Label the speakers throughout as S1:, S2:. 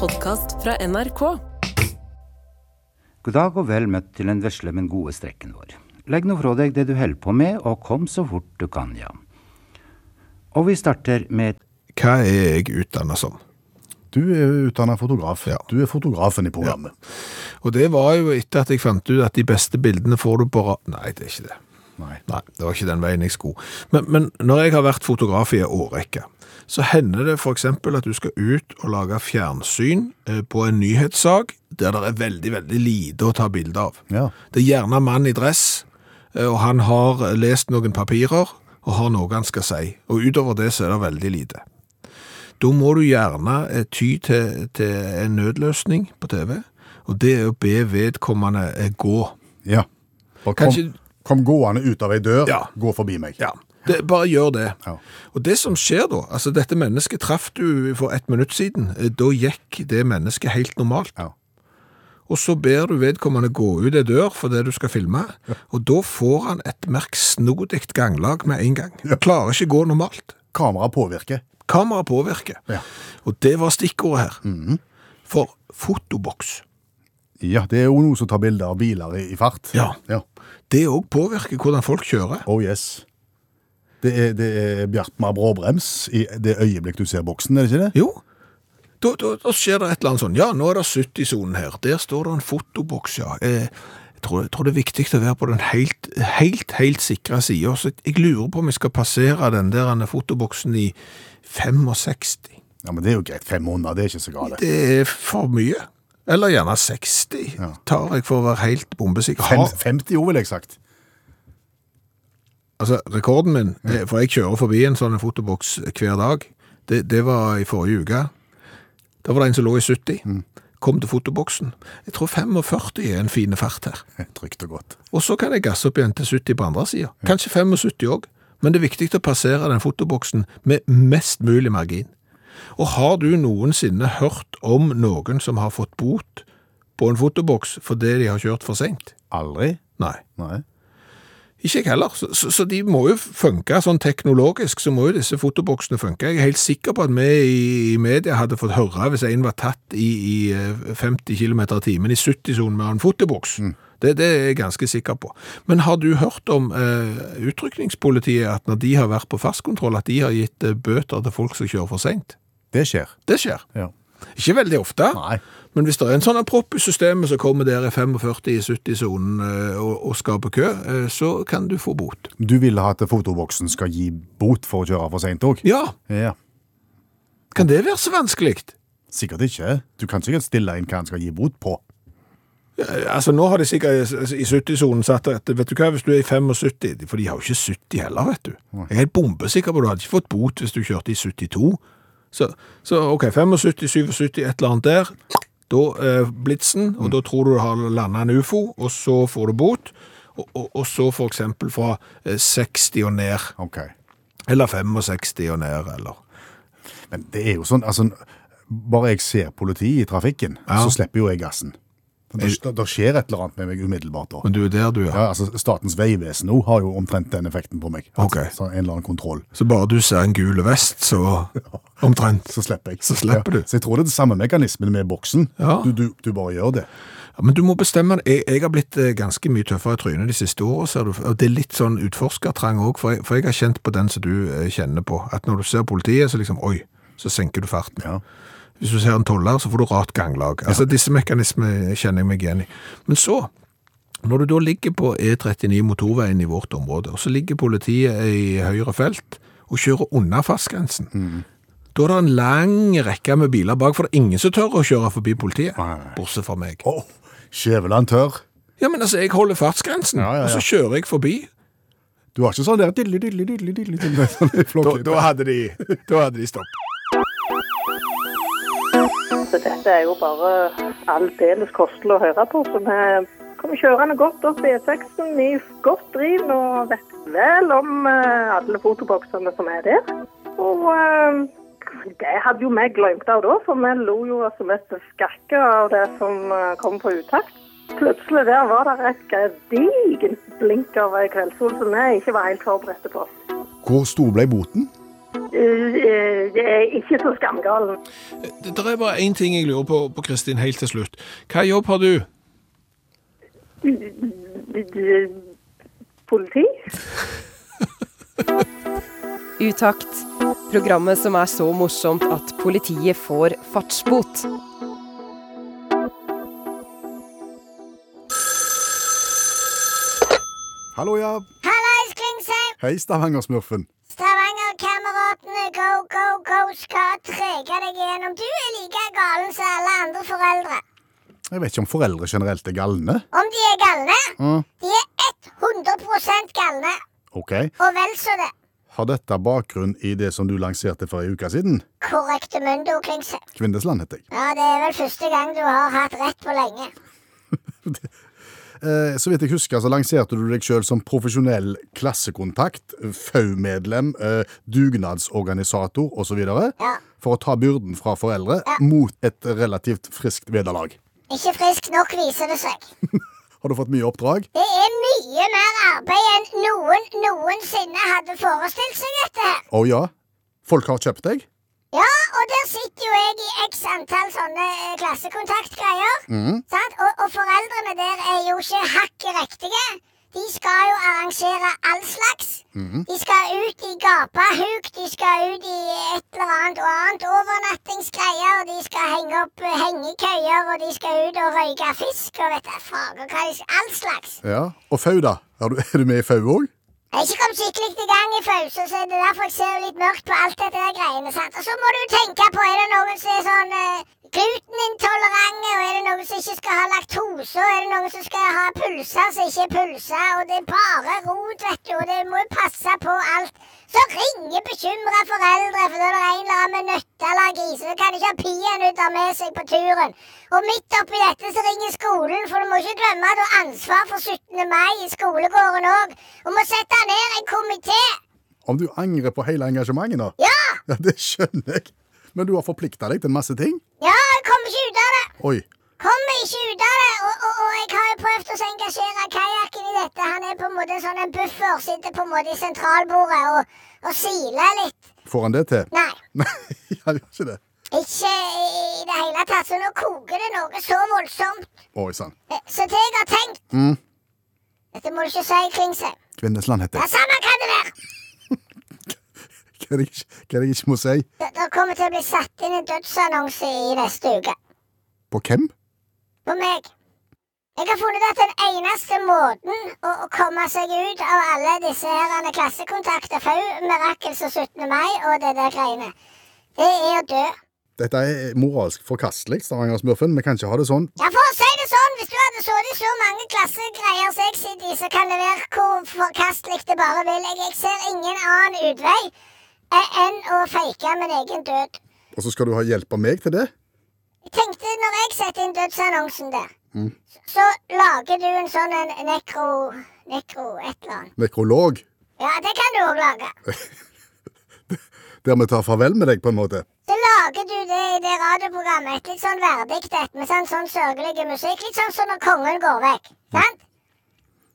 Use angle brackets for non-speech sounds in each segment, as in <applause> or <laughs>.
S1: podkast fra NRK.
S2: God dag og vel møtt til den vesle, men gode strekken vår. Legg nå fra deg det du holder på med, og kom så fort du kan, ja. Og vi starter med
S3: Hva er jeg utdannet som?
S4: Du er utdannet fotograf.
S3: Ja.
S4: Du er fotografen i programmet.
S3: Og det var jo etter at jeg fant ut at de beste bildene får du på ra... Nei, det er ikke det.
S4: Nei.
S3: Nei, det var ikke den veien jeg skulle. Men, men når jeg har vært fotograf i en årrekke, så hender det for eksempel at du skal ut og lage fjernsyn eh, på en nyhetssag der det er veldig, veldig lite å ta bilde av.
S4: Ja.
S3: Det er gjerne en mann i dress, eh, og han har lest noen papirer og har noe han skal si. Og utover det så er det veldig lite. Da må du gjerne eh, ty til, til en nødløsning på TV, og det er å be vedkommende eh, gå.
S4: Ja. Og kom,
S3: Kanskje-
S4: kom gående ut av ei dør,
S3: Ja.
S4: gå forbi meg.
S3: Ja, det, bare gjør det.
S4: Ja.
S3: Og det som skjer da, altså dette mennesket traff du for et minutt siden, eh, da gikk det mennesket helt normalt.
S4: Ja.
S3: Og så ber du vedkommende gå ut en dør for det du skal filme, og da får han et merksnodig ganglag med en gang. Klarer ikke gå normalt.
S4: Kamera påvirker.
S3: Kamera påvirker.
S4: Ja. Mhm.
S3: Og det var stikkordet her. For fotoboks,
S4: Ja, det er jo noen som tar bilder av biler i, i fart.
S3: Ja. det òg påvirker hvordan folk kjører.
S4: Oh yes. Det er, det er Bjartmar Bråbrems i det øyeblikk du ser boksen, er det ikke det?
S3: Jo, da, da, da skjer det et eller annet sånn. Ja, nå er det 70-sonen her. Der står det en fotoboks, ja. Eh, Jeg tror, jeg tror det er viktig å være på den helt, helt, helt sikre siden. Så jeg lurer på om jeg skal passere den der ene fotoboksen i 65.
S4: Ja, men det er jo greit. 500, det er ikke så galt.
S3: Det er for mye. Eller gjerne 60,
S4: Ja.
S3: tar jeg for å være helt bombesikker.
S4: Fem,
S3: Har-
S4: 50 jo, ville jeg sagt. <laughs>
S3: Altså, rekorden min, det, for jeg kjører forbi en sånn fotoboks hver dag, det, det var i forrige uke. Da var det en som lå i 70, kom til fotoboksen. Jeg tror 45 er en fine fart her.
S4: Trygt og godt.
S3: Og så kan jeg gasse opp igjen til 70 på andre siden. Kanskje 75 også. Men det er viktig å passere den fotoboksen med mest mulig margin. Og har du noensinne hørt om noen som har fått bot på en fotoboks fordi de har kjørt for sent?
S4: Aldri?
S3: Nei.
S4: Nei.
S3: Ikke jeg heller. Så, så, så de må jo funke sånn teknologisk, så må jo disse fotoboksene funke. Jeg er helt sikker på at vi i, i media hadde fått høre hvis en var tatt i, i eh, 50 km i timen i 70-sonen med en fotoboks. Det, det er jeg ganske sikker på. Men har du hørt om eh, utrykningspolitiet, at når de har vært på fastkontroll, at de har gitt eh, bøter til folk som kjører for seint?
S4: Det skjer.
S3: Det skjer.
S4: Ja.
S3: Ikke veldig ofte.
S4: Nei.
S3: Men hvis det er en sånn propp i systemet som kommer der i 45-70-sonen og, og skaper kø, eh, så kan du få bot.
S4: Du ville ha at fotoboksen skal gi bot for å kjøre for sent òg?
S3: Ja,
S4: Ja.
S3: kan det være så vanskelig?
S4: Sikkert ikke. Du kan sikkert stille inn hva han skal gi bot på.
S3: Altså, Nå har de sikkert i- i 70-sonen satt at vet du hva, hvis du er i 75 For de har jo ikke 70 heller, vet du. Jeg er helt bombesikker på at du hadde ikke fått bot hvis du kjørte i 72. Så, så OK, 75-77, et eller annet der. Da eh, blitsen, og da tror du du har landa en ufo, og så får du bot. Og, og, og så f.eks. fra eh, 60 og ned.
S4: Ok.
S3: Eller 65 og ned, eller
S4: Men det er jo sånn, altså, bare jeg ser politi i trafikken,
S3: Ja.
S4: så slipper jo jeg gassen. Det, det, det skjer et eller annet med meg umiddelbart da.
S3: Men du er der, du,
S4: Ja, altså, Statens vegvesen nå har jo omtrent den effekten på meg. At-
S3: Ok.
S4: Sånn en eller annen kontroll.
S3: Så bare du ser en gul vest, så omtrent.
S4: Så slipper jeg.
S3: Så slipper du.
S4: Ja, så jeg tror det er den samme mekanismen med boksen.
S3: Ja.
S4: Du, du, du bare gjør det.
S3: Ja, men du må bestemme deg. Jeg, jeg har blitt eh, ganske mye tøffere i trynet de siste årene, ser du. Og det er litt sånn utforskertrang òg, for, jeg- for jeg har kjent på den som du eh, kjenner på. At når du ser politiet, så liksom Oi, så senker du farten.
S4: Ja.
S3: Hvis du ser en toller, så får du rart ganglag. Altså, Disse mekanismene kjenner jeg meg igjen i. Men så, når du da ligger på E39 motorveien i vårt område, og så ligger politiet i høyre felt og kjører unna fartsgrensen, da er det en lang rekke med biler bak, for det er ingen som tør å kjøre forbi politiet, bortsett fra meg.
S4: Åh, Skjæveland tørr.
S3: Ja, men altså, jeg holder fartsgrensen,
S4: Ja, ja, ja.
S3: og så kjører jeg forbi.
S4: Du har ikke sånn der dille, dille, dille, dille, dille,
S3: <laughs>
S4: sånn flåkete.
S3: hadde de, da hadde de stoppet.
S5: Så dette er jo bare aldeles kostelig å høre på. Så vi kommer kjørende godt opp E6-en i godt driv og vet vel om eh, alle fotoboksene som er der. Og eh, det hadde jo vi glemt av da, for vi lo jo som et skakke av det som eh, kom på utakt. Plutselig der var det et gedigent blink av ei kveldssol som vi ikke var helt forberedte på.
S4: Hvor stor ble boten?
S5: Eh, eh, Jeg er ikke så skamgalen.
S3: Det det er bare én ting jeg lurer på, på Kristin, helt til slutt. Hva jobb har du?
S5: Eh, Politi?
S1: Utakt. Programmet som er så morsomt at politiet får fartsbot.
S4: Hallo, ja.
S6: Hallais, Klingsheim!
S4: Hei, Stavanger-smurfen.
S6: Stavanger-kameratene, go, go, go skal trege deg igjennom. Du er like galen som alle andre foreldre.
S4: Jeg vet ikke om foreldre generelt er galne.
S6: Om de er galne?
S4: Mm.
S6: De er 100 galne,
S4: Ok.
S6: og vel så det.
S4: Har dette bakgrunn i det som du lanserte for en uke siden?
S6: Korrekte mundo, Klingsheim.
S4: Kvindesland heter jeg.
S6: Ja, det er vel første gang du har hatt rett på lenge.
S4: Eh, så vidt jeg husker, så lanserte du deg sjøl som profesjonell klassekontakt, FAU-medlem, eh, dugnadsorganisator osv.
S6: Ja.
S4: for å ta byrden fra foreldre mot et relativt friskt vederlag.
S6: Ikke frisk nok, viser det seg.
S4: Har du fått mye oppdrag?
S6: Det er mye mer arbeid enn noen noensinne hadde forestilt seg dette her.
S4: Å ja. Folk har kjøpt deg?
S6: Ja, og der sitter jo jeg i x antall sånne eh, klassekontaktgreier. Sant? Og, og foreldrene der er jo ikke hakket riktige. De skal jo arrangere all slags. De skal ut i gapahuk, de skal ut i et eller annet og annet overnattingsgreier, og de skal henge opp eh, hengekøyer, og de skal ut og røyke fisk og vet da faen hva de skal All slags.
S4: Ja. Og FAU, da? Er du, er du med i FAU òg?
S6: Jeg er ikke kommet skikkelig i gang i pause, så det er derfor jeg ser jo litt mørkt på alt dette der greiene. sant? Og så må du jo tenke på er det noen som er sånn eh, glutenintolerante, og er det noen som ikke skal ha laktose, og er det noen som skal ha pølser som ikke er pølser, og det er bare rot, vet du, og det må jo passe på alt. Så ringer bekymra foreldre, for når det er en eller annen med nøtteallergi, så da kan de ikke ha peanøtter med seg på turen. Og midt oppi dette så ringer skolen, for du må ikke glemme at du har ansvar for 17. mai i skolegården òg. Og må sette ned en komité.
S4: Om du angrer på hele engasjementet nå?
S6: Ja!
S4: Ja, Det skjønner jeg. Men du har forplikta deg til en masse ting?
S6: Ja, jeg kommer ikke ut av det.
S4: Oi.
S6: Kommer ikke ut av det. Og, og, og jeg har jo prøvd å så engasjere kajakken i dette. Han er på en måte en sånn en buffer. Sitter på en måte i sentralbordet og, og siler litt.
S4: Får han det til?
S6: Nei.
S4: Nei, <laughs> han gjør ikke det.
S6: Ikke i i det hele tatt. Så nå koker det noe så voldsomt.
S4: Oi sann.
S6: Eh, Så det jeg har tenkt
S4: Mm.
S6: Dette må du ikke si, Klingsheim.
S4: Kvinnesland heter
S6: Ja,
S4: jeg.
S6: samme kan det være.
S4: Hva er det jeg ikke- hva er det jeg ikke må si?
S6: Det, det kommer til å bli satt inn en dødsannonse i neste uke.
S4: På hvem?
S6: På meg. Jeg har funnet at den eneste måten å, å komme seg ut av alle disse herrene klassekontakter, FAU, Mirakels og 17. mai og det der greiene, det er å dø.
S4: Dette er moralsk forkastelig, Stavanger-smurfen. Vi kan ikke ha det sånn.
S6: Ja, for å si det sånn, hvis du hadde så i så mange klassegreier som jeg sitter i, så kan det være hvor forkastelig det bare vil. Jeg, jeg ser ingen annen utvei eh, enn å fake min egen død.
S4: Og så skal du ha hjelp av meg til det?
S6: Jeg tenkte når jeg setter inn dødsannonsen der, så, så lager du en sånn en nekro... Nekro et eller annet.
S4: Nekrolog.
S6: Ja, det kan du òg lage.
S4: Der vi tar farvel med deg, på en måte.
S6: Så lager du det i det radioprogrammet, et litt sånn verdig et med sånn, sånn sørgelig musikk. Litt sånn som når kongen går vekk. Sant?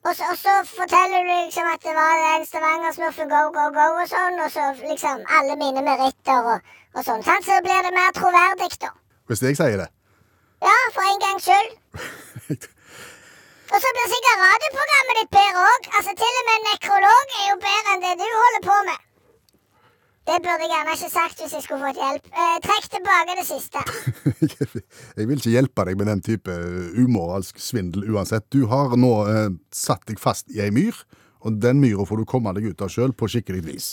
S6: Og så, og så forteller du liksom at det var den Stavanger-smurfen go, go, go og sånn, og så liksom alle mine meritter og, og sånn. Sant? Så blir det mer troverdig, da.
S4: Hvis jeg sier det. <laughs>
S6: Ja, for en gangs skyld. Og så blir sikkert radioprogrammet ditt bedre òg. Altså, til og med en nekrolog er jo bedre enn det du holder på med. Det burde jeg gjerne ikke sagt hvis jeg skulle fått hjelp. Eh, trekk tilbake det siste.
S4: Jeg vil ikke hjelpe deg med den type eh, umoralsk svindel uansett. Du har nå eh, satt deg fast i ei myr, og den myra får du komme deg ut av sjøl på skikkelig vis.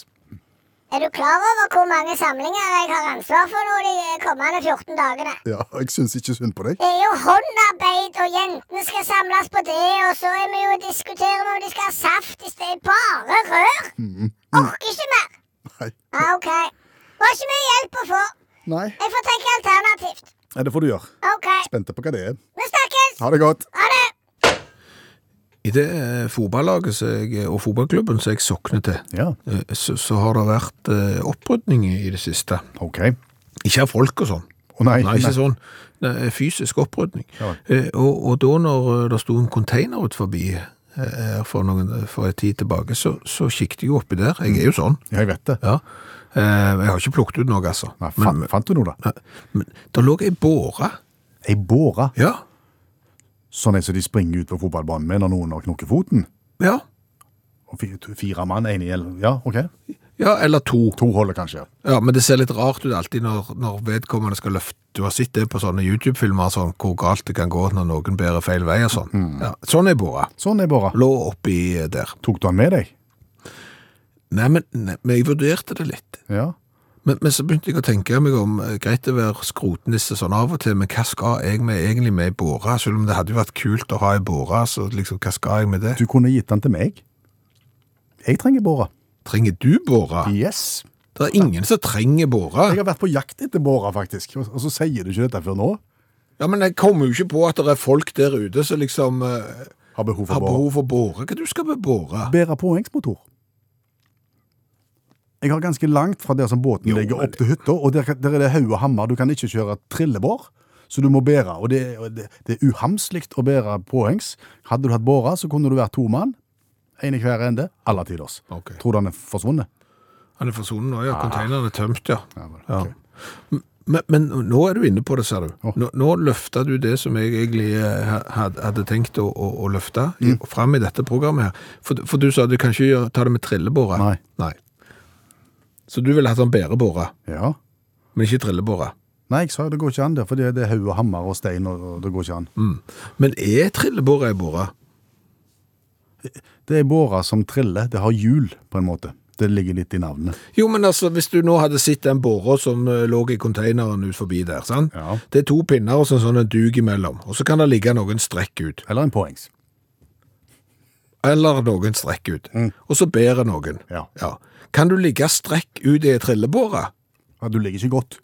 S6: Er du klar over hvor mange samlinger jeg har ansvar for nå de kommende 14 dagene?
S4: Ja, jeg syns ikke synd på deg.
S6: Det er jo håndarbeid, og jentene skal samles på det, og så er vi jo diskuterer vi om de skal ha saft i stedet. Bare rør! Orker ikke mer.
S4: Nei.
S6: Ja, OK. Var ikke mye hjelp å få.
S4: Nei.
S6: Jeg får tenke alternativt.
S4: Ja, det får du gjøre.
S6: OK.
S4: Spente på hva det er.
S6: Vi snakkes!
S4: Ha det godt.
S6: Ha det!
S3: I det eh, fotballaget som jeg- og fotballklubben som jeg sokner til,
S4: Ja,
S3: eh, så, så har det vært eh, opprydning i det siste.
S4: OK.
S3: Ikke av folk og sånn.
S4: Å nei.
S3: Nei, ikke sånn. Nei, fysisk opprydning.
S4: Ja.
S3: Eh, og, og da når eh, det sto en container ut forbi eh, her for, noen, for en tid tilbake, så, så kikket jeg jo oppi der. Jeg er jo sånn.
S4: Ja, jeg vet det.
S3: Ja. Eh, Jeg har ikke plukket ut noe, altså.
S4: Nei,
S3: Men-
S4: fant, fant du noe, da?
S3: Men der lå ei båre.
S4: Ei båre?
S3: Ja.
S4: Sånn en som de springer ut på fotballbanen med når noen har knukket foten?
S3: ja.
S4: Og fi- to- Fire mann, én i el- Ja, OK.
S3: Ja, eller to.
S4: To holder kanskje.
S3: Ja, Men det ser litt rart ut alltid når, når vedkommende skal løfte. Du har sett det på sånne YouTube-filmer, sånn, hvor galt det kan gå når noen bærer feil vei og sånn. Ja, sånn er båra.
S4: Sånn er bare.
S3: Lå oppi eh, der.
S4: Tok du han med deg?
S3: Nei, men, nei, men jeg vurderte det litt.
S4: Ja.
S3: Men, men så begynte jeg å tenke meg om eh, greit å være skrotnisse sånn av og til, men hva skal jeg med egentlig med ei båre? Selv om det hadde jo vært kult å ha ei båre, så liksom, hva skal jeg med det?
S4: Du kunne gitt den til meg. Jeg trenger båre.
S3: Trenger du båre?
S4: Yes.
S3: Det er ingen som trenger båre.
S4: Jeg har vært på jakt etter båre, faktisk. Og og så sier du ikke dette før nå.
S3: Ja, men jeg kommer jo ikke på at det er folk der ute som liksom eh,
S4: Har behov for
S3: har
S4: båre.
S3: behov for båre. Hva du skal med båre?
S4: Bedre påhengsmotor. Jeg har ganske langt fra der som båten
S3: Jo,
S4: ligger
S3: men-
S4: opp til hytta, og der, der er det haug og hammer. Du kan ikke kjøre trillebår, så du må bære. Og det, og det, det er uhamslig å bære påhengs. Hadde du hatt båre, så kunne du vært to mann. En i hver ende. Alle tiders.
S3: Ok.
S4: Tror du han er forsvunnet?
S3: Han er forsvunnet nå, ja. Konteineren er tømt, ja.
S4: Ah. Ja, vel,
S3: Ja.
S4: ok.
S3: Men, men nå er du inne på det, ser du.
S4: Å.
S3: Nå, nå løfta du det som jeg egentlig eh, ha- had- hadde tenkt å, å, å løfte i,
S4: Mm.
S3: fram i dette programmet her. For, for du sa du kan ikke gjøre, ta det med trillebåre.
S4: Nei.
S3: Så du ville hatt en bærebåre,
S4: Ja.
S3: men ikke trillebåre.
S4: Nei, jeg sa det går ikke an der, for det det er haug og hammer og stein, og og det går ikke an.
S3: Mm. Men er trillebåre ei båre?
S4: Det er båra som triller. Det har hjul, på en måte. Det ligger litt i navnet.
S3: Jo, men altså, hvis du nå hadde sett den båra som eh, lå i konteineren ut forbi der, sant?
S4: Ja.
S3: Det er to pinner og så en sånn en dug imellom, og så kan det ligge noen strekk ut,
S4: Eller en poengs.
S3: eller noen strekk ut, og så bærer noen.
S4: Mm. Ja.
S3: Kan du ligge strekk ut i et trillebåre?
S4: Ja, du ligger ikke godt.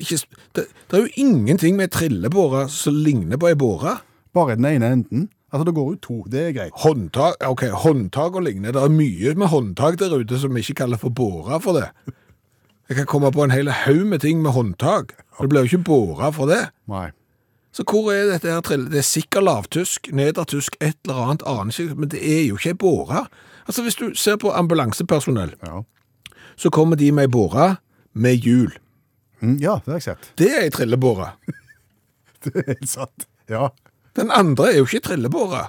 S3: Ikke, s- det, det er jo ingenting med et trillebåre som ligner på ei båre.
S4: Bare den ene enden. Altså, det går ut to. Det er greit.
S3: Håndtak, ok, håndtak og lignende. Det er mye med håndtak der ute som vi ikke kaller for båre for det. Jeg kan komme på en hel haug med ting med håndtak. Det blir jo ikke båre for det.
S4: Nei.
S3: Så hvor er dette her trill? Det er sikkert lavtysk, nedertysk, et eller annet, aner ikke, men det er jo ikke ei båre. Altså, hvis du ser på ambulansepersonell,
S4: Ja.
S3: så kommer de med ei båre med hjul.
S4: Mm, ja, det har jeg sett. <laughs>
S3: Det er ei trillebåre.
S4: Det er helt sant. Ja.
S3: Den andre er jo ikke ei trillebåre.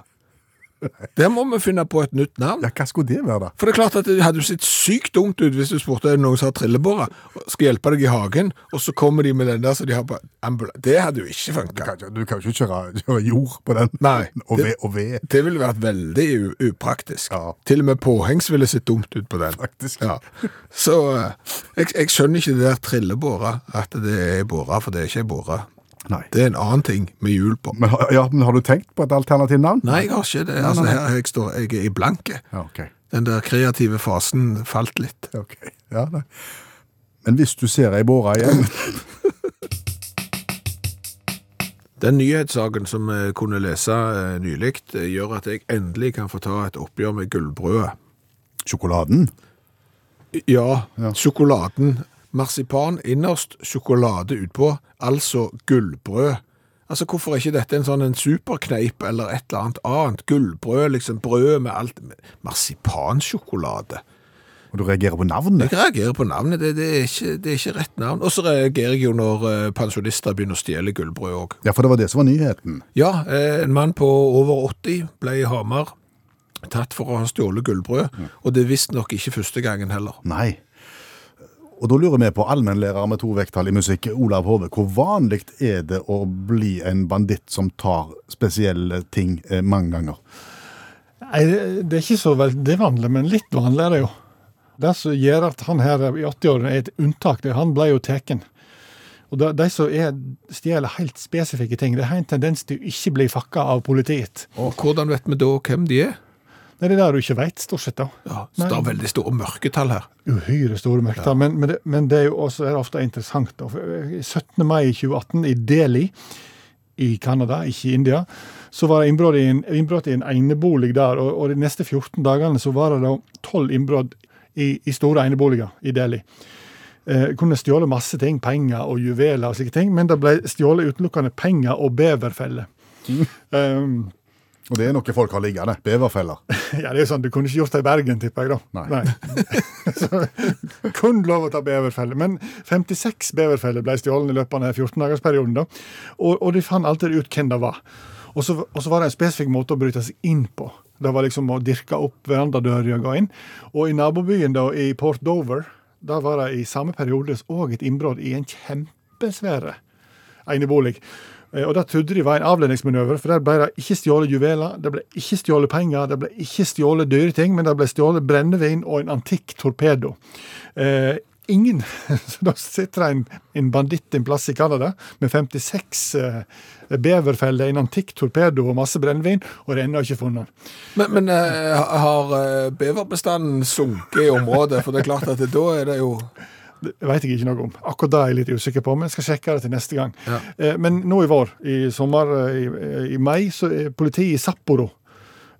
S3: Der må vi finne på et nytt navn.
S4: ja, hva skulle det være, da?
S3: For det er klart at det hadde jo sett sykt dumt ut hvis du spurte er det noen som har trillebåre, og skal hjelpe deg i hagen, og så kommer de med den der som de har på ambula... Det hadde jo ikke
S4: Du
S3: funka.
S4: kan, ikke- du kan jo ikke kjøre, kjøre jord på den.
S3: Nei.
S4: <laughs> Og ved, og ved.
S3: Det ville vært veldig u- upraktisk.
S4: Ja.
S3: Til og med påhengs ville sett dumt ut på den.
S4: Faktisk.
S3: Ja. Så eh, jeg, jeg skjønner ikke det der trillebåra, at det er ei båre, for det er ikke ei båre.
S4: Nei.
S3: Det er en annen ting med hjul på.
S4: Men, har- ja, men har du tenkt på et alternativt navn?
S3: Nei, jeg har ikke det. Altså, her jeg står jeg er i blanke.
S4: Ja, ok.
S3: Den der kreative fasen falt litt.
S4: Ok. Ja, nei. Men hvis du ser ei båre igjen <laughs>
S3: Den nyhetssaken som jeg kunne lese eh, nylig, eh, gjør at jeg endelig kan få ta et oppgjør med gullbrødet.
S4: Sjokoladen?
S3: Ja, sjokoladen. Marsipan innerst, sjokolade utpå, altså gullbrød. Altså, Hvorfor er ikke dette en sånn en superkneip eller et eller annet annet? Gullbrød, liksom brød med alt Marsipansjokolade.
S4: Og du reagerer på navnet?
S3: Jeg reagerer på navnet, det, det, er, ikke, det er ikke rett navn. Og så reagerer jeg jo når eh, pensjonister begynner å stjele gullbrød òg.
S4: Ja, for det var det som var nyheten.
S3: Ja, eh, en mann på over 80 ble i Hamar tatt for å ha stjålet gullbrød, og det er visstnok ikke første gangen heller.
S4: Nei. Og da lurer vi på allmennlærer med to vekttall i musikk, Olav Hove. Hvor vanlig er det å bli en banditt som tar spesielle ting eh, mange ganger?
S7: Nei, det det er ikke så veldig vanlig, men litt vanlig er det jo. Det som gjør at han her i 80-årene er et unntak, det er han ble jo tatt. Og de, de som er, stjeler helt spesifikke ting, det har en tendens til å ikke bli fakka av politiet.
S3: Og hvordan vet vi da hvem de er?
S7: Det er det der du ikke veit, stort sett. da.
S3: Ja, så det er veldig store mørketall her.
S7: Uhyre store mørketall. Men, men, det, men det er jo også er det ofte interessant. Da. For, eh, 17. mai 2018 i Delhi i Canada, ikke i India, så var det innbrudd i en, innbrudd i en enebolig der. Og, og de neste 14 dagene så var det da tolv innbrudd i, i store eneboliger i Delhi. Eh, kunne stjåle masse ting, penger og juveler og slike ting, men det ble stjålet utelukkende penger og beverfeller. Um,
S4: Og det er noe folk har liggende. Beverfeller.
S7: <laughs> ja, det er jo sånn, Du kunne ikke gjort det i Bergen, tipper jeg. da.
S4: Nei.
S7: Kun lov å ta beverfeller. Men 56 beverfeller ble stjålet i løpet av denne 14-dagersperioden. da. Og, og de fant alltid ut hvem det var. Og så, og så var det en spesifikk måte å bryte seg inn på. Det var liksom å dirke opp verandadøra og gå inn. Og i nabobyen, da, i Port Dover, der var det i samme periode òg et innbrudd i en kjempesvære enebolig. Eh, Og Det trodde de var en avledningsmanøver, for der ble det ikke stjålet juveler, det ble ikke stjålet penger, det ble ikke stjålet dyre ting, men det ble stjålet brennevin og en antikk torpedo. Eh, ingen <laughs> Så da sitter det en, en banditt en plass i Canada med 56 eh, beverfeller, en antikk torpedo og masse brennevin, og det er ennå ikke funnet.
S3: Men, men eh, ha- har eh, beverbestanden sunket i området? For det er klart at det, da er det jo
S7: Det vet jeg ikke noe om. Akkurat det er jeg litt usikker på, men jeg skal sjekke det til neste gang. Eh, Men nå i vår, i sommer, eh, i, i mai, så er politiet i Sapporo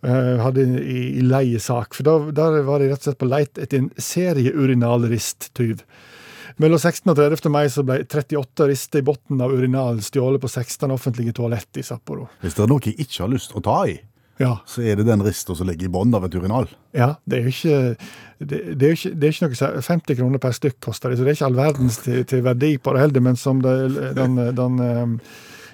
S7: eh, hadde en i, i leiesak. For da- der var de rett og slett på leit etter en serieurinalristtyv. Mellom 16. og 30. mai så ble 38 rister i bunnen av urinal stjålet på 16 offentlige toalett i Sapporo.
S4: Hvis det er noe jeg ikke har lyst til å ta i,
S7: Ja,
S4: så er det den rista som ligger i bunnen av et urinal.
S7: ja det er jo ikke, det, det er jo ikke, det er ikke noe sær- 50 kroner per stykk koster det, så det er ikke all verdens til, til verdi på det heller, men som det, den, den em,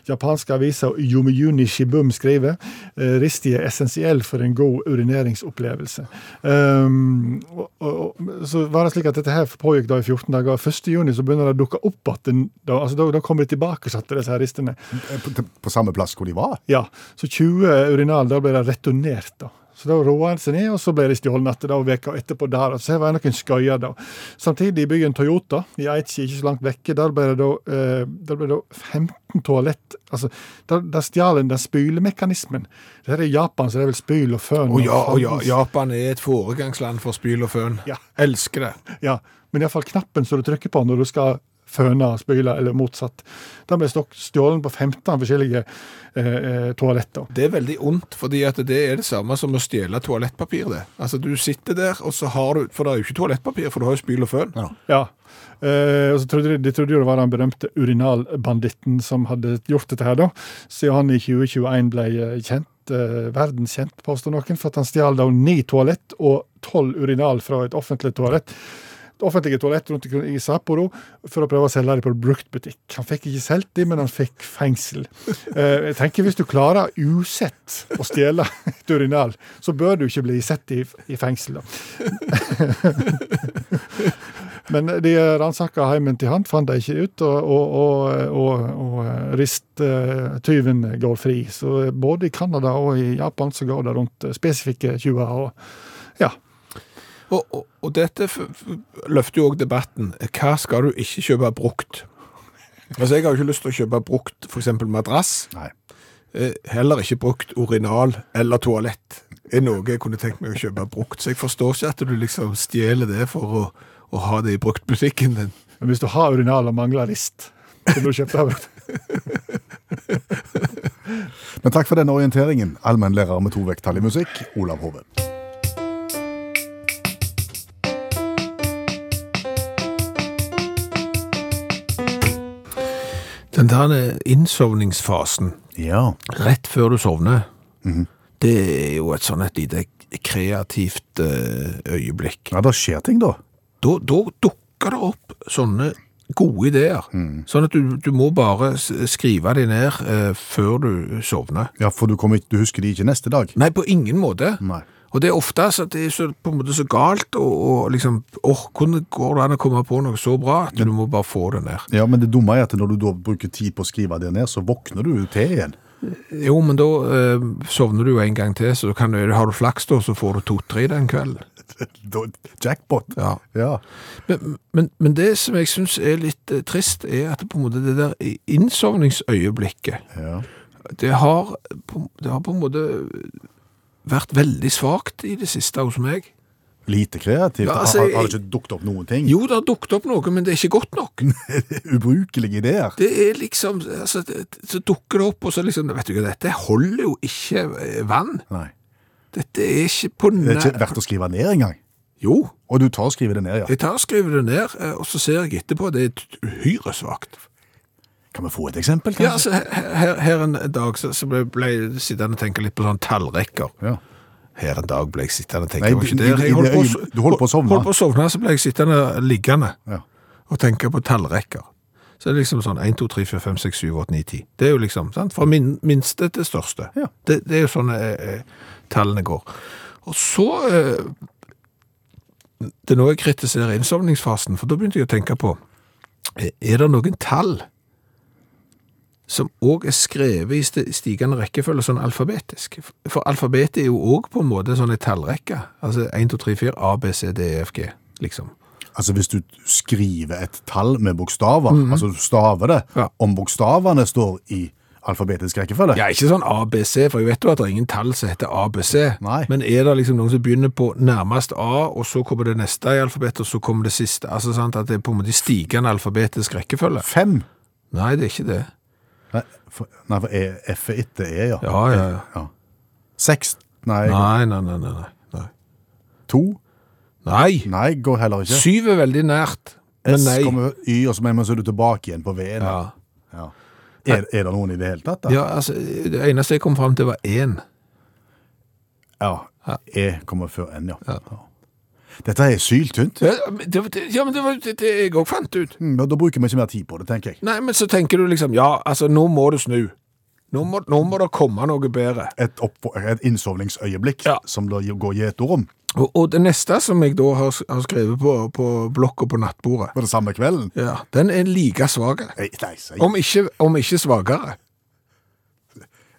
S7: japanske avisa Yomiuri Shibum skriver, eh, ristig er essensiell for en god urineringsopplevelse. Em, og, og, og- så var det slik at dette her pågikk da i 14 dager, og 1. juni så begynner det å dukke opp at den, da, altså, da, da kommer de tilbake satte disse her ristene.
S4: Eh, På, til- på samme plass hvor de var.
S7: Ja, så 20 urinal, da ble det returnert da. Så da roa han seg ned, og så ble de stjålne etter det, og veka etterpå der. Så her var det noen skøyer da. Samtidig i byen Toyota, i Aichi, ikke så langt vekke, der ble det da, eh, der ble det da 15 toalett, altså, der, der stjal en den spylemekanismen. Det her er Japan, så det er vel spyl og føn.
S3: Å ja, å ja,
S7: fandens-
S3: Japan er et foregangsland for spyl og føn.
S7: Ja.
S3: Elsker det.
S7: Ja, men iallfall knappen som du trykker på når du skal føne, spyle, eller motsatt. Den ble stok- stjålen på 15 forskjellige eh, eh, toaletter.
S3: Det er veldig ondt, fordi at det er det samme som å stjele toalettpapir. det. Altså, Du sitter der, og så har du For det er jo ikke toalettpapir, for du har jo spyl og føn.
S7: Ja. Eh, og så trodde de, de trodde jo det var den berømte urinalbanditten som hadde gjort dette her, da. Siden han i 2021 ble eh, kjent, eh, verdenskjent, påstår noen, for at han stjal da ni toalett og tolv urinal fra et offentlig toalett. Offentlige toalett rundt omkring i Sapporo for å prøve å selge dem på bruktbutikk. Han fikk ikke solgt dem, men han fikk fengsel. Eh, jeg tenker Hvis du klarer usett å stjele <laughs> et urinal, så bør du ikke bli sett i, i fengsel. da. Men de ransaka heimen til han, fant de ikke ut, og, og, og, og, og risttyven går fri. Så både i Canada og i Japan så går det rundt eh, spesifikke tjuver. og ja.
S3: Og, og, og dette f f løfter jo òg debatten. Hva skal du ikke kjøpe brukt? Altså, Jeg har jo ikke lyst til å kjøpe brukt f.eks. madrass.
S4: Nei.
S3: Eh, Heller ikke brukt urinal eller toalett. er noe jeg kunne tenkt meg å kjøpe brukt. Så jeg forstår ikke at du liksom stjeler det for å, å ha det i bruktbutikken din.
S7: Men hvis du har urinal og mangler rist, så må du kjøpe det.
S4: Men takk for denne orienteringen, allmennlærer med to vekttall i musikk, Olav Hove.
S3: Den der innsovningsfasen
S4: Ja.
S3: rett før du sovner, det er jo et sånn et lite kreativt eh, øyeblikk.
S4: ja, det skjer ting, da.
S3: Da, da dukker det opp sånne gode ideer. Sånn at du, du må bare s- skrive de ned eh, før du sovner.
S4: Ja, For du, kommer ikke, du husker de ikke neste dag?
S3: Nei, på ingen måte.
S4: Nei.
S3: Og det er ofte så at det er så, på en måte så galt, og, og liksom, åh, hvordan går det an å komme på noe så bra at du må bare få det ned?
S4: Ja, Men det dumme er at når du da bruker tid på å skrive det ned, så våkner du til
S3: <laughs>
S4: igjen.
S3: Jo, men da eh, sovner du jo en gang til, så kan, du- har du flaks da, så får du to-tre den kvelden.
S4: Da, jackpot.
S3: Ja.
S4: Ja.
S3: Men, men, men det som jeg syns er litt eh, trist, er at på en måte det der i- innsovningsøyeblikket
S4: ja.
S3: det har, på- det har på en måte vært veldig svakt i det siste hos meg.
S4: Lite kreativt.
S3: Ja, altså,
S4: har, har, har
S3: jeg-
S4: det ikke dukket opp noen ting? <laughs>
S3: Jo, det har dukket opp noe, men det er ikke godt nok.
S4: Ubrukelige ideer.
S3: Det er liksom altså, det, Så dukker det opp, og så liksom Vet du hva, dette holder jo ikke eh, vann.
S4: Nei.
S3: Dette er ikke på
S4: Det er ikke
S3: nær...
S4: verdt å skrive ned engang.
S3: Jo,
S4: Og du tar og skriver det ned, ja.
S3: jeg tar og skriver det ned, eh, og så ser jeg etterpå. Det er et uhyre svakt.
S4: Kan vi få et eksempel,
S3: Ja, altså,
S4: kanskje?
S3: her, her- her en dag så, så ble, ble jeg sittende og tenke litt på sånne sånn tallrekker.
S4: Ja.
S3: Her en dag ble jeg sittende og tenke
S4: Nei,
S3: jeg var ikke
S4: du-
S3: der.
S4: du-
S3: Jeg holdt på,
S4: du- du holdt på å sovne.
S3: Holdt på å sovne, så ble jeg sittende liggende
S4: Ja.
S3: og tenke på tallrekker. Så det er liksom sånn 1, 2, 3, 4, 5, 6, 7, 8, 9, 10. Det er jo liksom, sant? Fra min, minste til største.
S4: Ja.
S3: Det, det er jo sånn eh, eh, tallene går. Og så eh, Det er nå jeg kritiserer innsovningsfasen, for da begynte jeg å tenke på eh, Er det noen tall som òg er skrevet i sti- stigende rekkefølge, sånn alfabetisk. For alfabetet er jo òg på en måte sånn en tallrekke. Altså 1, 2, 3, 4, A, B, C, D, E, F, G, liksom.
S4: Altså Hvis du skriver et tall med bokstaver, altså du staver det,
S3: Mhm. Ja.
S4: om bokstavene står i alfabetisk rekkefølge
S3: Ja, ikke sånn ABC, for jeg vet jo at det er ingen tall som heter ABC.
S4: Nei.
S3: Men er det liksom noen som begynner på nærmest A, og så kommer det neste i alfabetet, og så kommer det siste? Altså sant, at det er på en måte i stigende alfabetisk rekkefølge?
S4: Fem!
S3: Nei, det er ikke det.
S4: Nei, for, nei, for e, F er etter E, ja.
S3: Ja, ja, ja.
S4: Ja. Seks Nei,
S3: Nei, nei, nei, nei. Nei.
S4: to
S3: nei.
S4: Nei, går heller ikke.
S3: Syv er veldig nært, men
S4: S
S3: nei.
S4: kommer Y, og så men så er du tilbake igjen på V-en.
S3: Ja.
S4: Ja. Er, er det noen i det hele tatt? da?
S3: ja, altså, det eneste jeg kom frem til var én.
S4: Ja. E kommer før N, ja. ja. Dette er syltynt.
S3: Ja, men det, det- ja, men det var det, det jeg òg fant ut.
S4: Mm, Da bruker vi ikke mer tid på det, tenker jeg.
S3: Nei, men så tenker du liksom Ja, altså, nå må du snu. Nå må, nå må det komme noe bedre.
S4: Et, oppfor- et innsovningsøyeblikk
S3: Ja.
S4: som det går gjetord om
S3: Og, og det neste som jeg da har, s- har skrevet på, på blokka på nattbordet,
S4: på den samme kvelden.
S3: ja, den er like svak.
S4: Nei, nei, så jeg,
S3: Om ikke, om ikke svakere.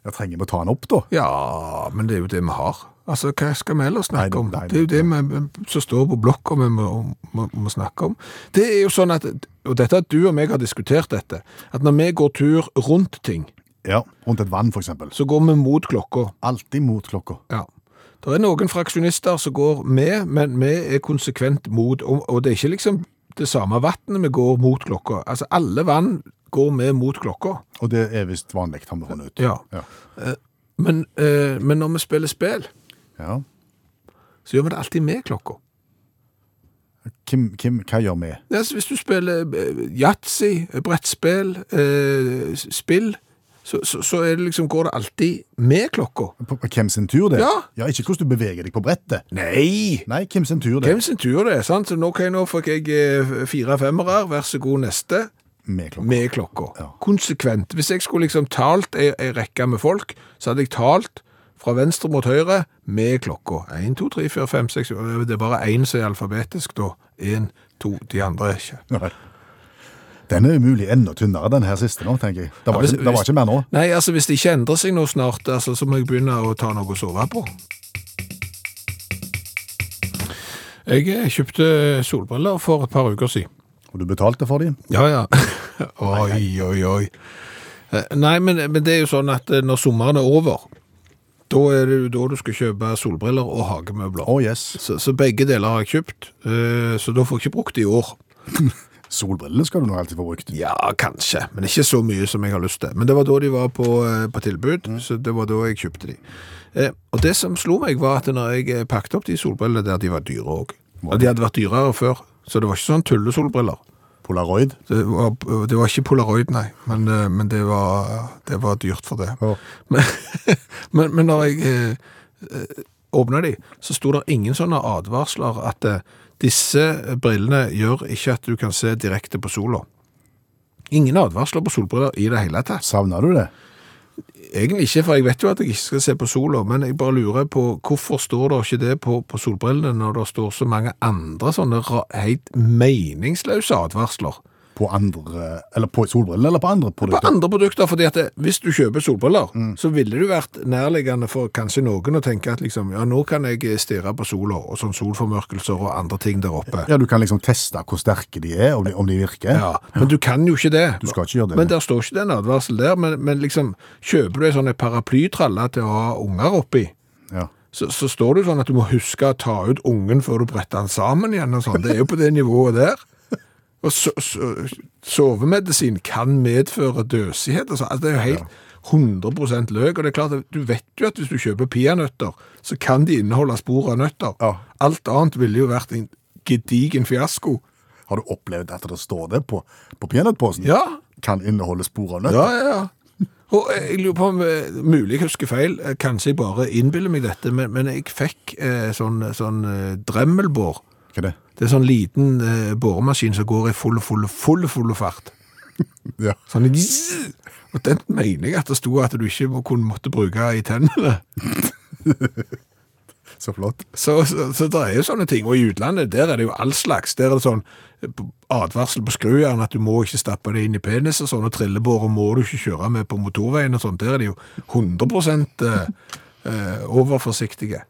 S4: jeg trenger vi å ta den opp, da?
S3: Ja, men det er jo det vi har. Altså, Hva skal vi ellers snakke
S4: Nei,
S3: om?
S4: nei,
S3: det er jo det vi- som står på blokka vi må, må, må snakke om. Det er jo sånn at, og dette at du og meg har diskutert dette, at når vi går tur rundt ting,
S4: Ja, Rundt et vann, for eksempel.
S3: så går vi mot klokka.
S4: Alltid mot klokka.
S3: Ja. Det er noen fraksjonister som går med, men vi er konsekvent mot, og og det er ikke liksom det samme vannet vi går mot klokka. Altså, alle vann går med mot klokka.
S4: Og det er visst vanlig, har vi funnet ut.
S3: Ja.
S4: Ja.
S3: Eh, Men, eh, men når vi spiller spill,
S4: Ja.
S3: så gjør vi det alltid med klokka.
S4: Kim, Kim, hva gjør vi?
S3: Ja, så hvis du spiller eh, yatzy, brettspill, eh, s- spill, så, så, så er det liksom, går det alltid med klokka.
S4: På, på hvem sin tur det er?
S3: Ja.
S4: ja. Ikke hvordan du beveger deg på brettet.
S3: Nei!
S4: Nei, hvem sin tur det er?
S3: Hvem sin tur det er, sant? Så nå, ok, nå fikk jeg eh, fire femmere, vær så god neste.
S4: Med klokka.
S3: Med klokka.
S4: Ja.
S3: Konsekvent. Hvis jeg skulle liksom talt ei, ei rekke med folk, så hadde jeg talt fra venstre mot høyre med klokka. 1, 2, 3, 4, 5, 6, Det er bare én som er alfabetisk, da. Én, to, de andre er ikke.
S4: Nei. Den er umulig enda tynnere, den her siste nå, tenker jeg. Det var,
S3: hvis-
S4: ikke, det var ikke mer nå.
S3: Nei, altså hvis det ikke endrer seg nå snart, altså, så må jeg begynne å ta noe å sove på. Jeg eh, kjøpte solbriller for et par uker siden.
S4: Og du betalte for dem.
S3: Ja, ja. <laughs> oi, oi, oi. Eh, Nei, men, men det er jo sånn at eh, når sommeren er over, da er det jo da du skal kjøpe solbriller og hagemøbler.
S4: Å, yes.
S3: Så, så begge deler har jeg kjøpt, eh, så da får jeg ikke brukt det i år.
S4: Solbrillene skal du nå alltid få brukt.
S3: Ja, kanskje, men ikke så mye som jeg har lyst til. Men det var da de var på, eh, på tilbud, så det var da jeg kjøpte de. Eh, Og det som slo meg var at når jeg eh, pakket opp de solbrillene der, de var dyre òg. De hadde vært dyrere før, så det var ikke sånn tullesolbriller.
S4: Polaroid.
S3: Det var, det var ikke Polaroid, nei, men, eh, men det, var, det var dyrt for det.
S4: Ja.
S3: Men, <laughs> men, men når jeg eh, åpna de, så sto det ingen sånne advarsler at eh, disse brillene gjør ikke at du kan se direkte på sola. Ingen advarsler på solbriller i det hele tatt.
S4: Savner du det?
S3: Egentlig ikke, for jeg vet jo at jeg ikke skal se på sola, men jeg bare lurer på hvorfor står det ikke det på, på solbrillene når det står så mange andre sånne ra- helt meningsløse advarsler?
S4: På andre, eller på solbrillene, eller på andre
S3: på
S4: produkter?
S3: andre produkter, fordi at det, hvis du kjøper solbriller,
S4: Mm.
S3: så ville det jo vært nærliggende for kanskje noen å tenke at liksom, ja, nå kan jeg stirre på sola, og sånn solformørkelser og andre ting der oppe.
S4: Ja, du kan liksom teste hvor sterke de er, om de, om de virker.
S3: Ja, men du kan jo ikke det.
S4: Du skal ikke gjøre det.
S3: Men der står ikke den advarsel der, men, men liksom, kjøper du en sånn en paraplytralle til å ha unger oppi,
S4: Ja.
S3: så, så står det jo sånn at du må huske å ta ut ungen før du bretter den sammen igjen og sånn. Det er jo på det nivået der. Og so, so, sovemedisin kan medføre døsighet. Altså, altså det er jo helt 100 løk. Og det er klart, at du vet jo at hvis du kjøper peanøtter, så kan de inneholde spor av nøtter.
S4: Ja.
S3: Alt annet ville jo vært en gedigen fiasko.
S4: Har du opplevd at det står det på, på peanøttposen?
S3: Ja.
S4: Kan inneholde spor av nøtt?
S3: Ja, ja, ja. Og jeg lurer på om eh, mulig jeg husker feil, eh, kanskje jeg bare innbiller meg dette, men, men jeg fikk eh, sånn, sånn eh, dremmelbår.
S4: Hva er det?
S3: Det er sånn liten eh, boremaskin som går i full, full, full, full fart.
S4: Ja.
S3: Sånn, zzz. <laughs> og den mener jeg at det sto at du ikke må- kunne måtte bruke i tennene.
S4: Så flott.
S3: Så, så, så det er jo sånne ting. Og i utlandet, der er det jo all slags. Der er det sånn eh, advarsel på skrujern at du må ikke stappe det inn i penis og sånn, og trillebåret må du ikke kjøre med på motorveien og sånn. Der er de jo 100 eh, eh, overforsiktige.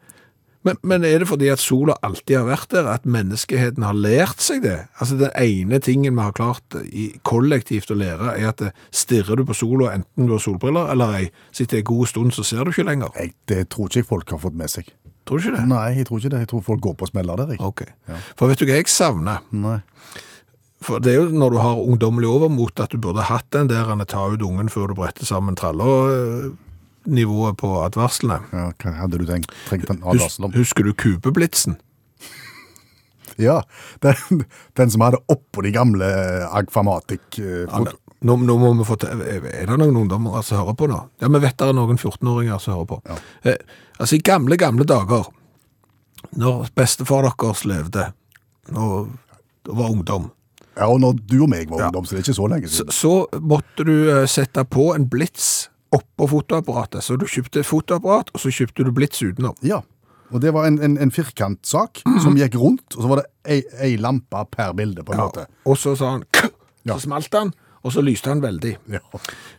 S3: Men, men er det fordi at sola alltid har vært der, at menneskeheten har lært seg det? Altså Den ene tingen vi har klart eh, i kollektivt å lære, er at eh, stirrer du på sola, enten du har solbriller eller ei, sitter en god stund, så ser du ikke lenger.
S4: Jeg, det tror ikke jeg folk har fått med seg.
S3: Tror du ikke det?
S4: Nei, jeg tror ikke det. Jeg tror folk går på smeller der. Jeg.
S3: Ok. For vet du hva jeg savner?
S4: Nei.
S3: For det er jo når du har ungdommelig overmot at du burde hatt den der han ta ut ungen før du bretter sammen tralla-nivået på advarslene.
S4: Ja, hva hadde du tenkt, trengt en
S3: Hus
S4: advarsel om?
S3: husker du kupeblitsen?
S4: Ja, den, den som hadde oppå de gamle Agfamatic eh,
S3: Ja,
S4: fot-
S3: Nå, nå må vi få til, Er det noen ungdommer som hører på nå? Ja, vi vet det er noen 14-åringer som hører på. Eh, altså, I gamle, gamle dager, når bestefar deres levde, når det var ungdom,
S4: Ja, og når du og meg var ungdom, så det er ikke så lenge
S3: så,
S4: siden.
S3: så måtte du eh, sette på en blits oppå fotoapparatet. Så du kjøpte fotoapparat, og så kjøpte du blits utenom.
S4: Ja, og det var en, en, en firkantsak som gikk rundt, og så var det ei, ei lampe per bilde, på en måte.
S3: Og så sa han «Kuh!» Så smalt han, og så lyste han veldig.
S4: Ja.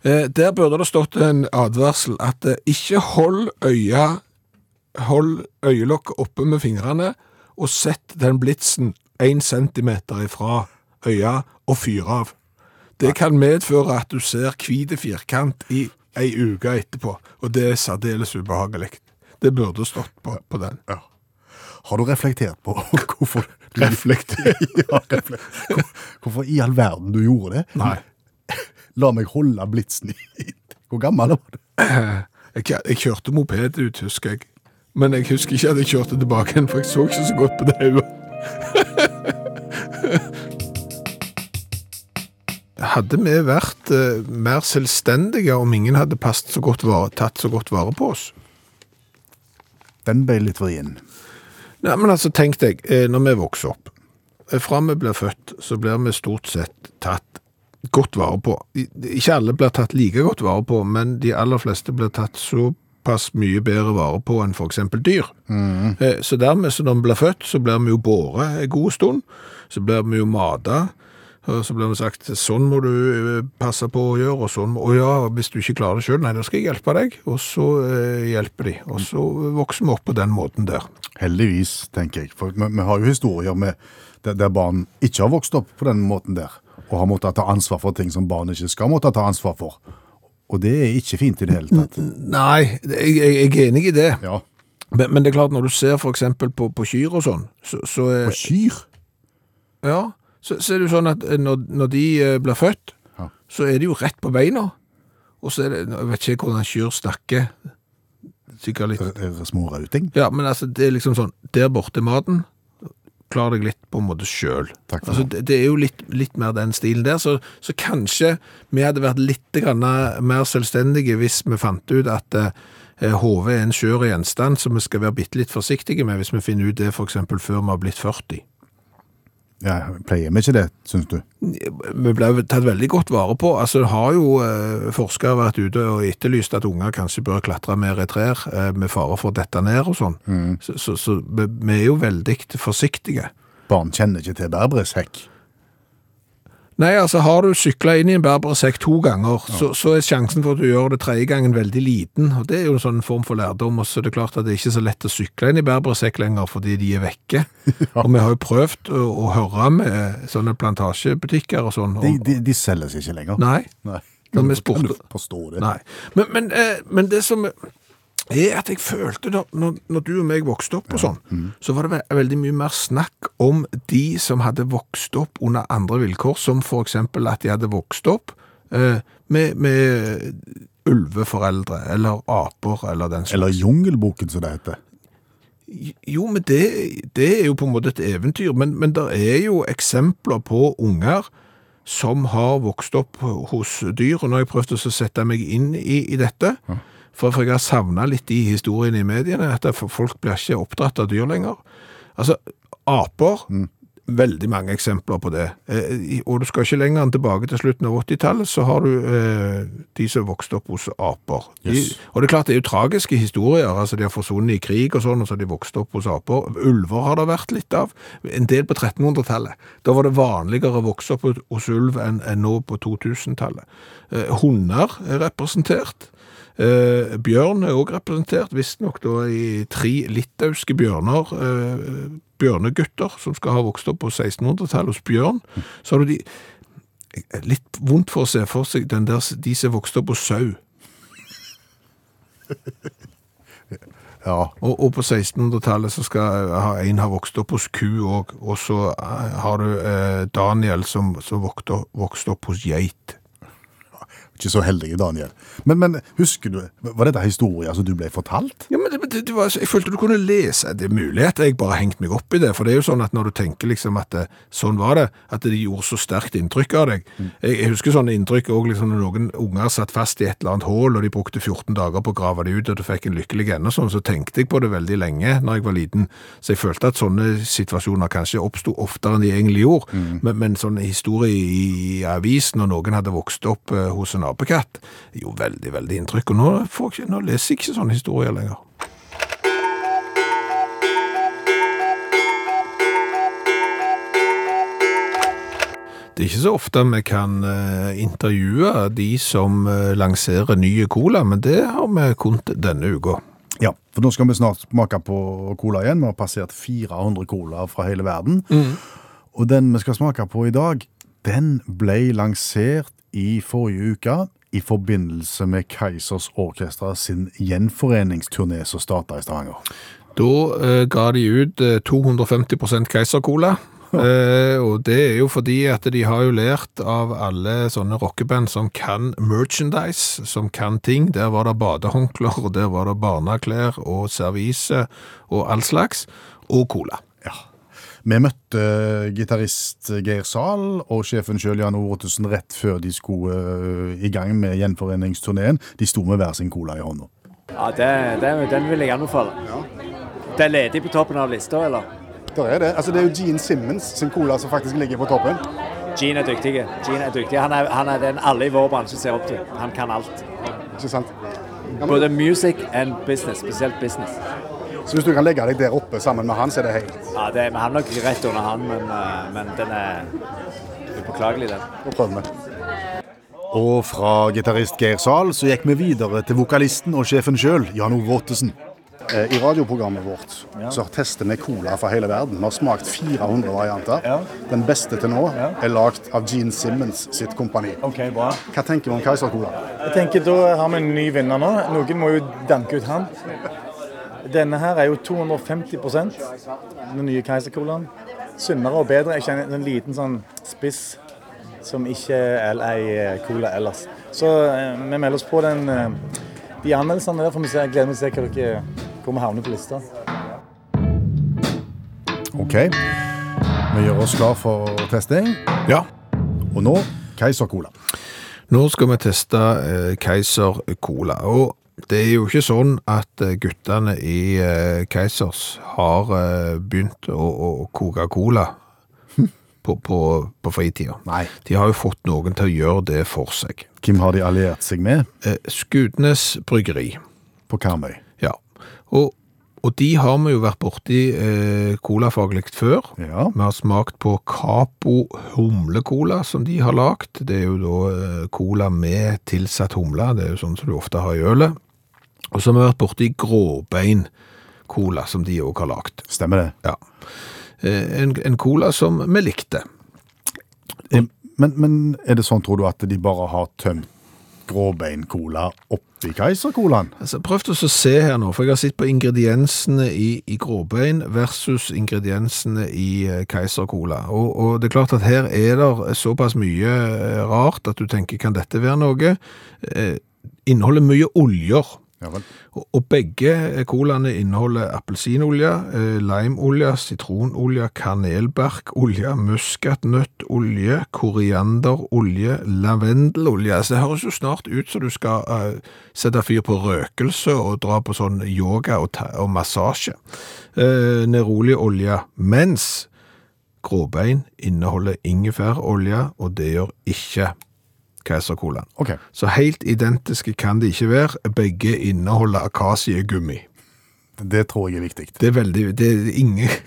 S3: Eh, der burde det stått en advarsel at eh, ikke hold øya Hold øyelokket oppe med fingrene, og sett den blitsen én centimeter ifra øya og fyr av. Det kan medføre at du ser hvite firkant i ei uke etterpå, og det er særdeles ubehagelig. Det burde stått på, på den.
S4: Har du reflektert på hvorfor du
S3: Reflekter.
S4: <laughs> ja, refle- Hvor, Hvorfor i all verden du gjorde det?
S3: Nei.
S4: La meg holde blitsen i Hvor gammel var du?
S3: Jeg, jeg kjørte moped ut, husker jeg. Men jeg husker ikke at jeg kjørte tilbake igjen, for jeg så ikke så godt på det hodet. <laughs> Hadde vi vært eh, mer selvstendige om ingen hadde passet så godt vare, tatt så godt vare på oss?
S4: Den ble litt vrien.
S3: Nei, men altså, tenk deg, eh, når vi vokser opp, eh, fra vi blir født, så blir vi stort sett tatt godt vare på. I- Ikke alle blir tatt like godt vare på, men de aller fleste blir tatt såpass mye bedre vare på enn for eksempel dyr. Eh, Så dermed, så når vi blir født, så blir vi jo båret en god stund, så blir vi jo matet, og så blir vi sagt, sånn må du eh, passe på å gjøre, og sånn, og ja, hvis du ikke klarer det selv, nei, da skal jeg hjelpe deg, og så eh, hjelper de, og så vokser vi opp på den måten der.
S4: Heldigvis, tenker jeg. For vi, vi har jo historier med der, der barn ikke har vokst opp på den måten der, og har måttet ta ansvar for ting som barn ikke skal måtte ta ansvar for. Og det er ikke fint i det hele tatt.
S3: Mm, Nei, jeg, jeg, jeg er enig i det.
S4: Ja.
S3: Men, men det er klart, når du ser for eksempel på, på kyr og sånn, så, så, er-
S4: Og kyr.
S3: ja, så, så er det jo sånn at eh, når, når de eh, blir født,
S4: Ja.
S3: så er de jo rett på beina. Og så er det, jeg vet ikke hvordan kyr snakker, sikkert litt.
S4: Er- er det Smårauting.
S3: Ja, men altså, det er liksom sånn, der borte er maten, klar deg litt på en måte selv.
S4: Takk for
S3: altså, det, det er jo litt, litt mer den stilen der, så, så kanskje vi hadde vært litt grann eh, mer selvstendige hvis vi fant ut at eh, HV er en skjør gjenstand som vi skal være bitte litt forsiktige med hvis vi finner ut det for eksempel før vi har blitt 40.
S4: Ja, pleier vi ikke det, syns du?
S3: Vi ble jo tatt veldig godt vare på. Altså, det har jo eh, forskere vært ute og etterlyst at unger kanskje bør klatre mer i trær eh, med fare for å dette ned og sånn. Så, så, så vi vi er jo veldig forsiktige.
S4: Barn kjenner ikke til bærbressekk.
S3: Nei, altså har du sykla inn i en berbersekk to ganger, så, så er sjansen for at du gjør det tredje gangen veldig liten. og Det er jo en sånn form for lærdom. og så er det klart at det er ikke så lett å sykle inn i berbersekk lenger fordi de er vekke. Og vi har jo prøvd å, å høre med sånne plantasjebutikker og sånn. og-
S4: De, de, de selges ikke lenger.
S3: Nei.
S4: Nei.
S3: Kan vi
S4: Kan du
S3: sporte-
S4: forstå det?
S3: Nei. Men, men, eh, men det som er at jeg følte da når, når du og meg vokste opp og sånn, så var det ve veldig mye mer snakk om de som hadde vokst opp under andre vilkår, som for eksempel at de hadde vokst opp eh, med, med ulveforeldre, eller aper, eller den slags.
S4: Eller Jungelboken, som det heter.
S3: Jo, men det, det er jo på en måte et eventyr, men, men det er jo eksempler på unger som har vokst opp hos dyr, og nå har jeg prøvd å sette meg inn i, i dette. For, for jeg har savna litt de historiene i mediene, at det- for folk blir ikke oppdratt av dyr lenger. Altså, aper Veldig mange eksempler på det. Eh, i- og du skal ikke lenger enn tilbake til slutten av 80-tallet, så har du eh, de som vokste opp hos aper. De,
S4: Yes.
S3: Og det er klart det er jo tragiske historier. altså De har forsvunnet i krig og sånn, og så har de vokst opp hos aper. Ulver har det vært litt av. En del på 1300-tallet. Da var det vanligere å vokse opp hos ulv enn enn nå på 2000-tallet. Eh, hunder er representert. Eh, bjørn er også representert, visstnok da i tre litauiske bjørner. Eh, bjørnegutter som skal ha vokst opp på 1600-tallet hos bjørn. Så har du de Litt vondt for å se for seg den der, de som vokste opp hos sau.
S4: Ja.
S3: Og, og på 1600-tallet så skal eh, ha, en ha vokst opp hos ku òg, og så eh, har du eh, Daniel som, som vokste, vokste opp hos geit.
S4: Ikke så heldige, Daniel. Men, men husker du, var dette historier som du ble fortalt?
S3: Ja, men det, det, det var, Jeg følte du kunne lese Det er mulig at jeg bare hengte meg opp i det, for det er jo sånn at når du tenker liksom at det, sånn var det, at det gjorde så sterkt inntrykk av deg. Jeg, jeg husker sånne inntrykk òg liksom, når noen unger satt fast i et eller annet hull, og de brukte 14 dager på å grave det ut, og du fikk en lykkelig ende og sånn, så tenkte jeg på det veldig lenge når jeg var liten. Så jeg følte at sånne situasjoner kanskje oppsto oftere enn de egentlig gjorde, men, men sånn historie i, i avisen når noen hadde vokst opp eh, hos en apekatt, det gjorde veldig, veldig inntrykk. Og nå, får jeg, ikke- nå leser jeg ikke sånne historier lenger. Det er ikke så ofte vi kan eh, intervjue de som eh, lanserer nye cola, men det har vi kunnet denne uka.
S4: Ja. For nå skal vi snart smake på cola igjen. Vi har passert 400 cola fra hele verden. Og den vi skal smake på i dag, den ble lansert i forrige uke i forbindelse med Keisers Orkestra sin gjenforeningsturné som starta i Stavanger.
S3: Da eh, ga de ut eh, 250 Keiser-cola. Eh, og det er jo fordi at de har jo lært av alle sånne rockeband som kan merchandise, som kan ting. Der var det badehåndklær, og der var det barneklær og servise og all slags, og cola.
S4: Vi møtte eh, gitarist Geir Zahl og sjefen sjøl Jan Ove Ottesen rett før de skulle eh, i gang med gjenforeningsturneen. De sto med hver sin cola i hånda.
S8: Ja, det, det, den vil jeg anbefale. Det er ledig på toppen av lista, eller?
S9: Det er det. Altså, det er jo Gene Simmons sin cola som faktisk ligger på toppen.
S8: Gene er dyktig. Gene er dyktig. Han er, han er den alle i vår bransje ser opp til. Han kan alt.
S9: Ikke sant? Ja, men,
S8: Både music and business, spesielt business.
S9: så hvis du kan legge deg der oppe sammen med han, så er det helt
S8: Ja, det, men han er nok rett under han, men, eh, men den er upåklagelig, den.
S9: å prøve med.
S4: Og fra gitarist Geir Zahl så gikk vi videre til vokalisten og sjefen sjøl, Jan Ove Ottesen.
S9: Eh, I radioprogrammet vårt så tester vi cola fra hele verden. Vi har smakt 400 varianter. Den beste til nå er lagd av Gene Simmons sitt kompani.
S10: <laughs> Ok, bra.
S9: Hva tenker vi om Kaiser-cola?
S10: Jeg tenker Da har vi en ny vinner nå. Noen må jo danke ut han. Denne her er jo 250 den nye Keisercolaen. Sunnere og bedre. Jeg kjenner en liten sånn spiss som ikke er LA-cola ellers. Så eh, vi melder oss på den, eh, de anmeldelsene der. får vi se. Jeg gleder meg til å se hva dere, hvor vi havner på lista.
S4: OK. Vi gjør oss klar for testing.
S3: Ja.
S4: Og nå Keiser-cola.
S3: Nå skal vi teste eh, Keiser Cola. Og det er jo ikke sånn at eh, guttene i eh, Keisers har eh, begynt å, å å koke cola på, på, på fritida.
S4: Nei.
S3: De har jo fått noen til å gjøre det for seg.
S4: Hvem har de alliert seg med
S3: Eh, Skudenes bryggeri.
S4: på Karmøy?
S3: Ja. Og, og de har vi jo vært borti eh, colafaglig før.
S4: Ja.
S3: Vi har smakt på Capo humlecola som de har lagt. Det er jo da eh, cola med tilsatt humle, det er jo sånn som du ofte har i ølet. Og så har vi vært borti gråbein cola som de òg har lagt.
S4: Stemmer det.
S3: Ja. Eh, En, en cola som vi likte.
S4: Men, men er det sånn, tror du, at de bare har tømt gråbein-cola oppi Keiser-colaen?
S3: Altså, prøv til å se her nå, for jeg har sett på ingrediensene i, i gråbein versus ingrediensene i eh, keisercola. Og, og det er klart at her er det såpass mye eh, rart at du tenker, kan dette være noe? Eh, inneholder mye oljer. Og, og begge eh, colaene inneholder appelsinolje, eh, limeolje, sitronolje, kanelbarkolje, muskatnøttolje, korianderolje, lavendelolje. Altså, det høres jo snart ut som du skal eh, sette fyr på røkelse og dra på sånn yoga og, ta og massasje. Eh, Neroliolje. Mens gråbein inneholder ingefærolje, og det gjør ikke Keisercolaen.
S4: Ok.
S3: Så helt identiske kan de ikke være. Begge inneholder akasiegummi.
S4: Det tror jeg er viktig.
S3: Det er veldig Det er ingen <laughs>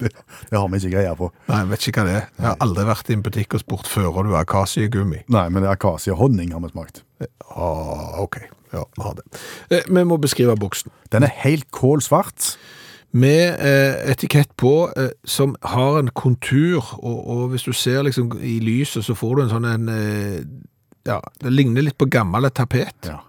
S4: Det, det har vi ikke greie på.
S3: Nei, jeg vet ikke hva det er. Jeg har aldri vært i en butikk og spurt fører du akasiegummi.
S4: Nei, men det er akasiehonning har vi smakt.
S3: Ah, OK. Ja, vi har det. Eh, vi må beskrive boksen.
S4: Den er helt kålsvart.
S3: Med eh, etikett på eh, som har en kontur, og, og hvis du ser liksom i lyset, så får du en sånn en eh, Ja, det ligner litt på gammel tapet.
S4: Ja.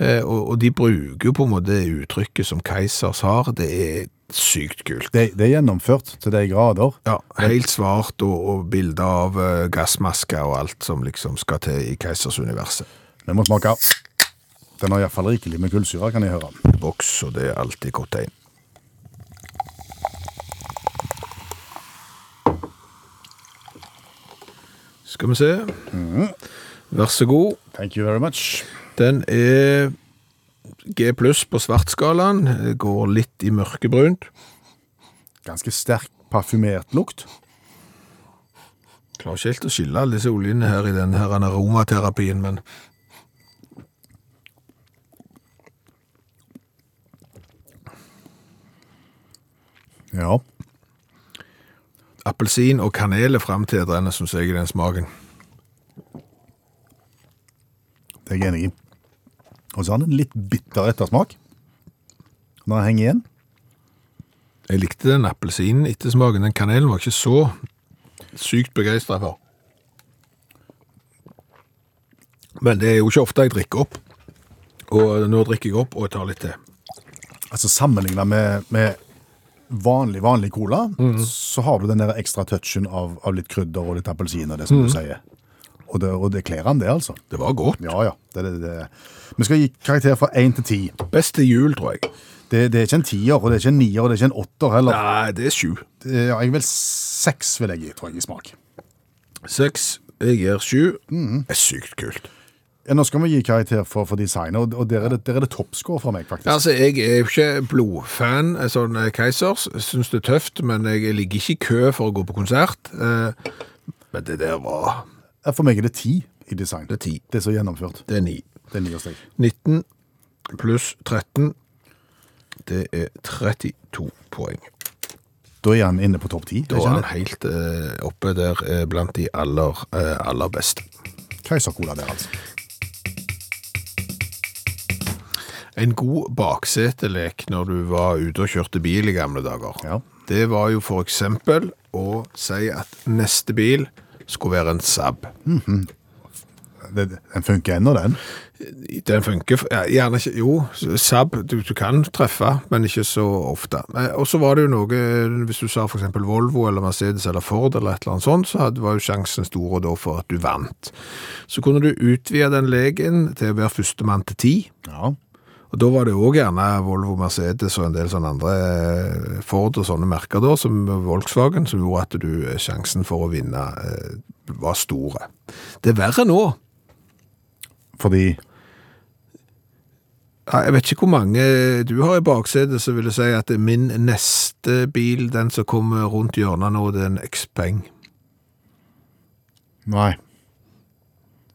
S3: Eh, og, og de bruker jo på en måte det uttrykket som Keisers har. Det er sykt kult.
S4: Det, det er gjennomført til de grader.
S3: Ja, Helt svart, og, og bilder av eh, gassmasker og alt som liksom skal til i Keisers-universet.
S4: Vi må smake. Den har iallfall rikelig med kullsyre, kan jeg høre.
S3: Boks, og det er alltid godt tegn. Skal vi se. Vær så god.
S4: Thank you very much.
S3: Den er G pluss på svartskalaen. Går litt i mørkebrunt.
S4: Ganske sterk parfymert lukt.
S3: Klarer ikke helt å skille alle disse oljene her i den her aromaterapien, men
S4: Ja.
S3: appelsin og kanel er framtredende, syns jeg, i den smaken.
S4: Det er jeg enig i. Og så har den en litt bitter ettersmak. Når den henger igjen.
S3: Jeg likte den appelsinen ettersmaken. Den kanelen var ikke så sykt begeistra for. Men det er jo ikke ofte jeg drikker opp. Og nå drikker jeg opp og jeg tar litt til.
S4: Altså Sammenlignet med, med vanlig vanlig cola, så har du den der ekstra touchen av, av litt krydder og litt appelsin og det som du sier. Og det, og det kler han, Mhm. det, altså.
S3: Det var godt.
S4: Ja, ja. Det, det, det. Vi skal gi karakter fra én til ti.
S3: Best til jul, tror jeg.
S4: Det, det er ikke en tier, og det er ikke en nier, og det er ikke en åtter heller.
S3: Nei, det er sju.
S4: Det- Ja, jeg vil seks vil jeg gi, tror jeg, i smak.
S3: Seks. Jeg gir sju. Det er sykt kult.
S4: Ja, Nå skal vi gi karakter for, for designet, og, og der er det, der er det toppscore fra meg, faktisk.
S3: Altså, Jeg er jo ikke blodfan av sånn eh, Keisers. Syns det er tøft, men jeg ligger ikke i kø for å gå på konsert. Eh, Men det der var
S4: Ja, For meg er det ti i design.
S3: Det er ti.
S4: Det er så gjennomført.
S3: Det er ni.
S4: Det er ni hos deg.
S3: 19 pluss 13, det er 32 poeng.
S4: Da er han inne på topp ti.
S3: Da er han helt eh, oppe der eh, blant de aller, eh, aller beste.
S4: Keisercola der, altså.
S3: En god baksetelek når du var ute og kjørte bil i gamle dager,
S4: Ja.
S3: det var jo for eksempel å si at neste bil skulle være en Saab.
S4: Det, den funker ennå, den.
S3: Den funker ja, gjerne ikke Jo, Saab du, du kan treffe, men ikke så ofte. Eh, Og så var det jo noe Hvis du sa f.eks. Volvo eller Mercedes eller Ford eller et eller annet sånt, så hadde, var jo sjansen stor da for at du vant. Så kunne du utvide den legen til å være førstemann til ti.
S4: Ja.
S3: Og Da var det òg gjerne Volvo, Mercedes og en del sånne andre eh, Ford og sånne merker, da, som Volkswagen, som gjorde at du, eh, sjansen for å vinne eh, var store. Det er verre nå.
S4: Fordi
S3: Ja, Jeg vet ikke hvor mange du har i baksetet, så vil jeg si at min neste bil, den som kommer rundt hjørnet nå, det er en Xpeng.
S4: Nei.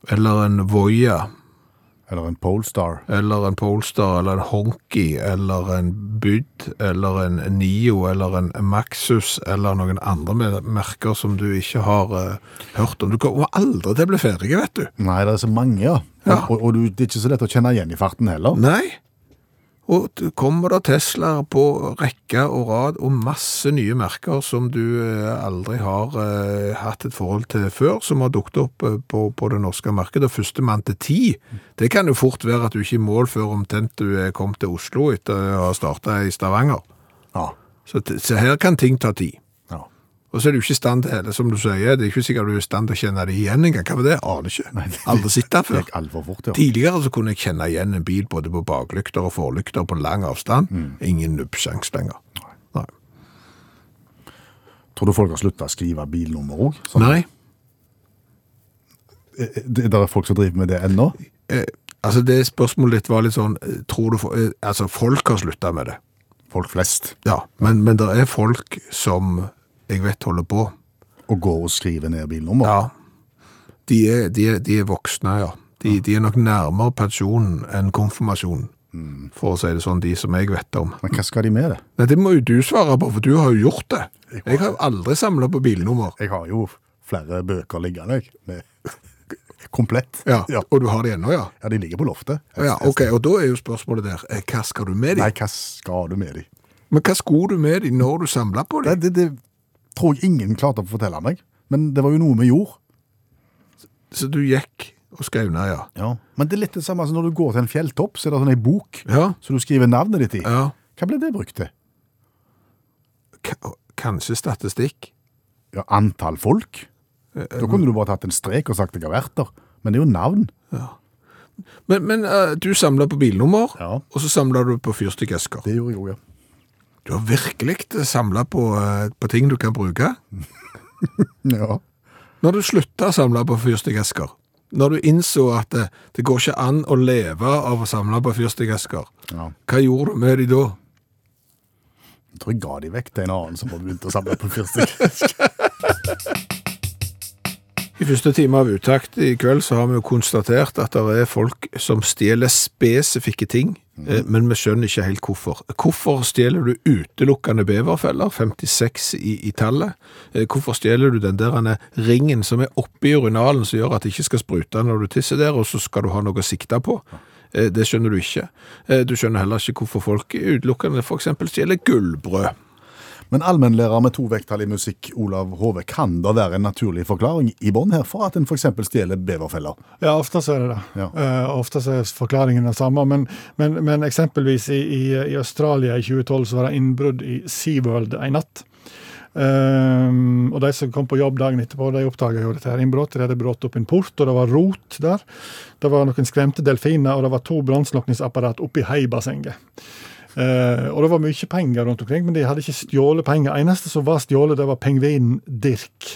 S3: Eller en Voya,
S4: Eller en Polestar.
S3: eller en Polestar, eller en Honky, eller en Byd, eller en Nio, eller en Maxus, eller noen andre mer- merker som du ikke har eh, hørt om. Du kommer aldri til å bli ferdig, vet du.
S4: Nei, det er så mange, ja.
S3: Ja.
S4: Og, og, og du, det er ikke så lett å kjenne igjen i farten heller.
S3: Nei. Og det kommer da Teslaer på rekke og rad, og masse nye merker som du eh, aldri har eh, hatt et forhold til før, som har dukket opp eh, på, på det norske markedet. Og Førstemann til ti, det kan jo fort være at du ikke er i mål før omtrent du er kommet til Oslo etter å ha starta i Stavanger.
S4: Ja.
S3: Så, t- så her kan ting ta tid.
S4: ja.
S3: Og så er du ikke i stand til heller, som du sier, det er ikke sikkert du er i stand til å kjenne det igjen engang. Hva var det? Aner ikke. Aldri sett det før.
S4: gikk alvor fort, ja.
S3: Tidligere så kunne jeg kjenne igjen en bil både på baklykter og forlykter på lang avstand. Ingen nubbsjans lenger. Mm. Nei.
S4: Tror du folk har slutta å skrive bilnummer òg?
S3: Nei.
S4: Det det er folk som driver med det ennå?
S3: Eh, altså det spørsmålet ditt var litt sånn, eh, tror du, fo- eh, altså folk har sluttet med det.
S4: Folk flest.
S3: Ja, men, men det er folk som jeg vet holder på.
S4: Og går og skriver ned bilnummer?
S3: Ja. De er, de er, de er voksne, ja. De, de er nok nærmere pensjonen enn konfirmasjonen, for å si det sånn, de som jeg vet om.
S4: Men hva skal de med det?
S3: Nei, det må jo du svare på, for du har jo gjort det. Jeg har jo aldri samlet på bilnummer.
S4: Jeg har jo flere bøker liggende, jeg. Med <laughs> komplett.
S3: Ja,
S4: ja.
S3: og du har det ennå, ja.
S4: Ja, de ligger på loftet.
S3: Ja, ok, og da er jo spørsmålet der, eh, hva skal du med
S4: Nei,
S3: dem?
S4: hva skal du med de?
S3: Men hva skulle du med dem når du samlet på
S4: Det,
S3: dem?
S4: det, det tror jeg ingen klarte å fortelle meg, men det var jo noe vi gjorde.
S3: Så du gikk og skrev ned, ja.
S4: Men det er litt det samme som når du går til en fjelltopp, så er det sånn en bok
S3: Ja,
S4: som du skriver navnet ditt i.
S3: ja.
S4: Hva ble det brukt til?
S3: K- Kanskje statistikk?
S4: Ja, antall folk? Da kunne du bare tatt en strek og sagt det har vært der. Men det er jo navn.
S3: Men, men eh, du samler på bilnummer,
S4: Ja.
S3: og så samler du på fyrstikkesker.
S4: Det gjorde jeg òg, ja.
S3: Du har virkelig samla på, eh, på ting du kan bruke.
S4: ja.
S3: Når du slutta å samle på fyrstikkesker, når du innså at det, det går ikke an å leve av å samle på fyrstikkesker,
S4: Ja.
S3: hva gjorde du med de da?
S4: Jeg tror jeg ga de vekk til en annen som hadde begynt å samle på fyrstikk. <laughs>
S3: I første time av Utakt i kveld så har vi jo konstatert at det er folk som stjeler spesifikke ting, eh, men vi skjønner ikke helt hvorfor. Hvorfor stjeler du utelukkende beverfeller, 56 i, i tallet? Eh, Hvorfor stjeler du den der ene ringen som er oppi urinalen som gjør at det ikke skal sprute når du tisser der, og så skal du ha noe å sikte på? Eh, Det skjønner du ikke. Eh, Du skjønner heller ikke hvorfor folk utelukkende for eksempel stjeler gullbrød.
S4: Men allmennlærer med to vekttall i musikk, Olav Hove, kan det være en naturlig forklaring i bånn her for at en f.eks. stjeler beverfeller?
S7: Ja, ofte så er det det.
S4: Ja.
S7: Eh, ofte så er forklaringen den samme. Men, men, men eksempelvis i, i, i Australia i 2012 så var det innbrudd i SeaWorld en natt. Ehm, og de som kom på jobb dagen etterpå, de oppdaga jo dette her innbruddet. De hadde brått opp en port, og det var rot der. Det var noen skremte delfiner, og det var to brannslukningsapparat oppi heibassenget. Eh, og det var mye penger rundt omkring, men de hadde ikke stjålet penger. Eneste som var stjålet, det var pengvinen Dirk.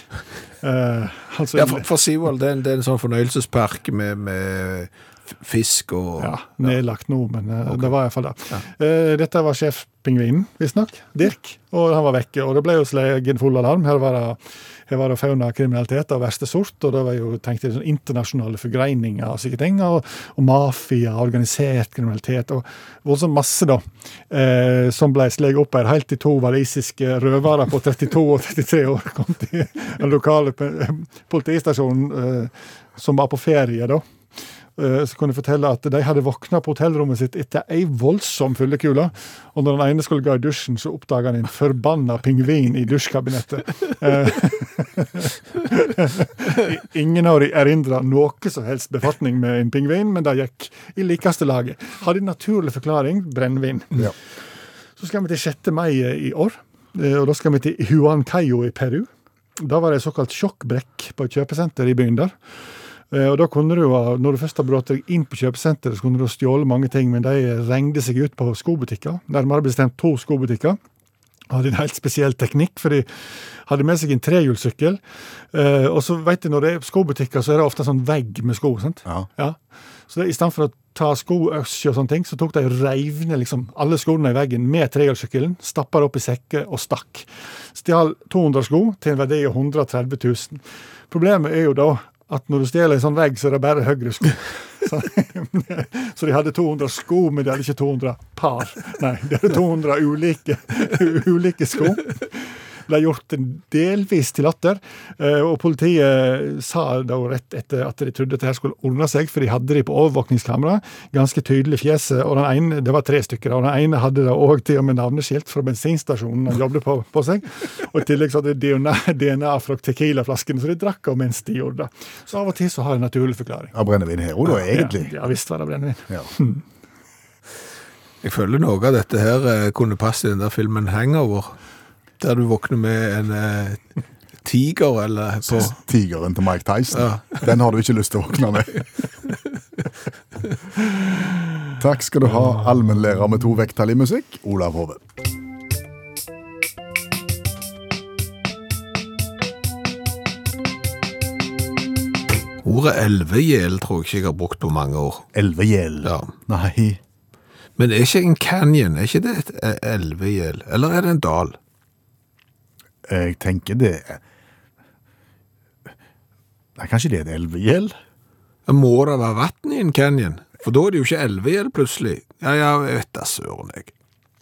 S7: Eh, altså,
S3: Ja, for, for SeaWorld det er en, det er en sånn fornøyelsespark med, med f- fisk og
S7: Ja, nedlagt nå, men eh, det var iallfall det. Eh, dette var sjefpingvinen, visstnok. Dirk. Og han var vekke. Og det ble jo slegen full alarm. Her var det, her var det faunakriminalitet av verste sort, og det var jo tenkt i sånn internasjonale forgreininger og slike ting. Og, og mafia, organisert kriminalitet og voldsomt masse, da. Eh, som ble sleget opp her. Helt til to walisiske røvere på 32 og 33 år kom til den lokale pe- politistasjonen, eh, som var på ferie, da eh, så kunne jeg fortelle at de hadde våkna på hotellrommet sitt etter ei voldsom fyllekule. Og når den ene skulle gå i dusjen, så oppdaga han en forbanna pingvin i dusjkabinettet. Eh, <laughs> Ingen av de erindra noe som helst befatning med en pingvin, men det gikk i likeste laget. Hadde en naturlig forklaring brennevin. Så skal vi til 6. mai i år, eh, og da skal vi til Huancayo i Peru. Da var det en såkalt sjokkbrekk på et kjøpesenter i byen der. Eh, Og da kunne du jo, ha- Når du først har brått deg inn på kjøpesenteret, så kunne du ha stjålet mange ting, men de regnet seg ut på skobutikker, nærmere bestemt to skobutikker. Hadde en helt spesiell teknikk, for de hadde med seg en trehjulssykkel. Eh, og så vet du, når det er skobutikker, så er det ofte en sånn vegg med sko. sant?
S4: Ja.
S7: Så det, i stedet for å ta skoøsje og sånne ting, så tok de og reiv ned liksom, alle skoene i veggen med trehjulssykkelen, stappa det opp i sekker og stakk. Stjal 200 sko til en verdi av 130 000. Problemet er jo da at når du stjeler en sånn vegg, så er det bare høyre sko. Så, <laughs> så de hadde 200 sko, men de hadde ikke 200 par. Nei, de hadde 200 ulike, <laughs> ulike sko. Det er gjort delvis til latter, eh, og politiet sa da rett etter at de trodde dette her skulle ordne seg, for de hadde de på overvåkningskamera, ganske tydelig fjeset, og den ene, det var tre stykker, og den ene hadde da òg til og med navneskilt fra bensinstasjonen han jobbet på, på seg, og i tillegg så hadde de DNA DNA fra Tequila-flaskene, så de drakk av mens de gjorde det. Så av og til så har jeg en naturlig forklaring.
S4: Av brennevin her òg, da, egentlig.
S7: Ja, ja visst var det brennevin.
S4: <laughs> Ja.
S3: Jeg føler noe av dette her eh, kunne passe i den der filmen Hangover. Der du våkner med en eh, tiger eller på
S4: Tigeren til Mike Tyson. Den har du ikke lyst til å våkne med. Takk skal du ha, allmennlærer med to vekttall i musikk, Olav Hove.
S3: Ordet elvegjel tror jeg ikke jeg har brukt på mange år.
S4: Elvegjel?
S3: Ja.
S4: Nei.
S3: Men er ikke en canyon er ikke det et eh, elvegjel? Eller er det en dal?
S4: Jeg tenker det Nei, kanskje det er et elvegjel?
S3: Må det være vann i en canyon? For da er det jo ikke elvegjel plutselig. Ja, ja, jeg vet da søren, jeg.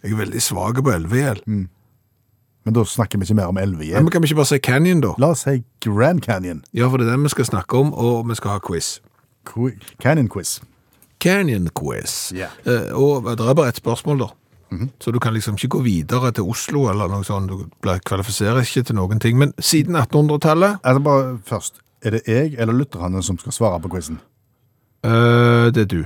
S3: Jeg er veldig svak på elvegjel.
S4: Men da snakker vi ikke mer om
S3: Ja,
S4: elvegjel.
S3: men kan vi ikke bare si canyon, da?
S4: La oss si Grand Canyon.
S3: Ja, for det er den vi skal snakke om, og vi skal ha quiz.
S4: Qu- Canyon Quiz.
S3: Canyon quiz.
S4: Ja.
S3: Eh, og det er bare ett spørsmål, da. Så du kan liksom ikke gå videre til Oslo eller noe sånt. Du blir- kvalifiserer ikke til noen ting. Men siden 1800-tallet
S4: Altså bare først, Er det jeg eller lytterne som skal svare på quizen?
S3: eh, Det er du.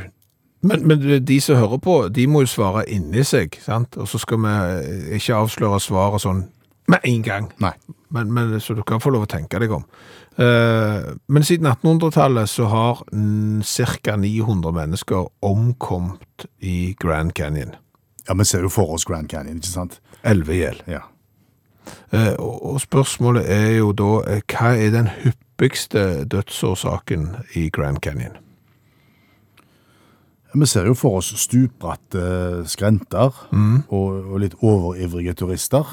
S3: Men, men de som hører på, de må jo svare inni seg, sant? Og så skal vi eh, ikke avsløre svaret sånn med en gang.
S4: Nei.
S3: Men, men, så du kan få lov å tenke deg om. Eh, men siden 1800-tallet så har mm, ca. 900 mennesker omkommet i Grand Canyon.
S4: Ja, Vi ser jo for oss Grand Canyon, ikke sant?
S3: Elleve i hjel.
S4: Ja.
S3: Eh, Og og spørsmålet er jo da, eh, hva er den hyppigste dødsårsaken i Grand Canyon?
S4: Vi ser jo for oss stupbratte skrenter og, og litt overivrige turister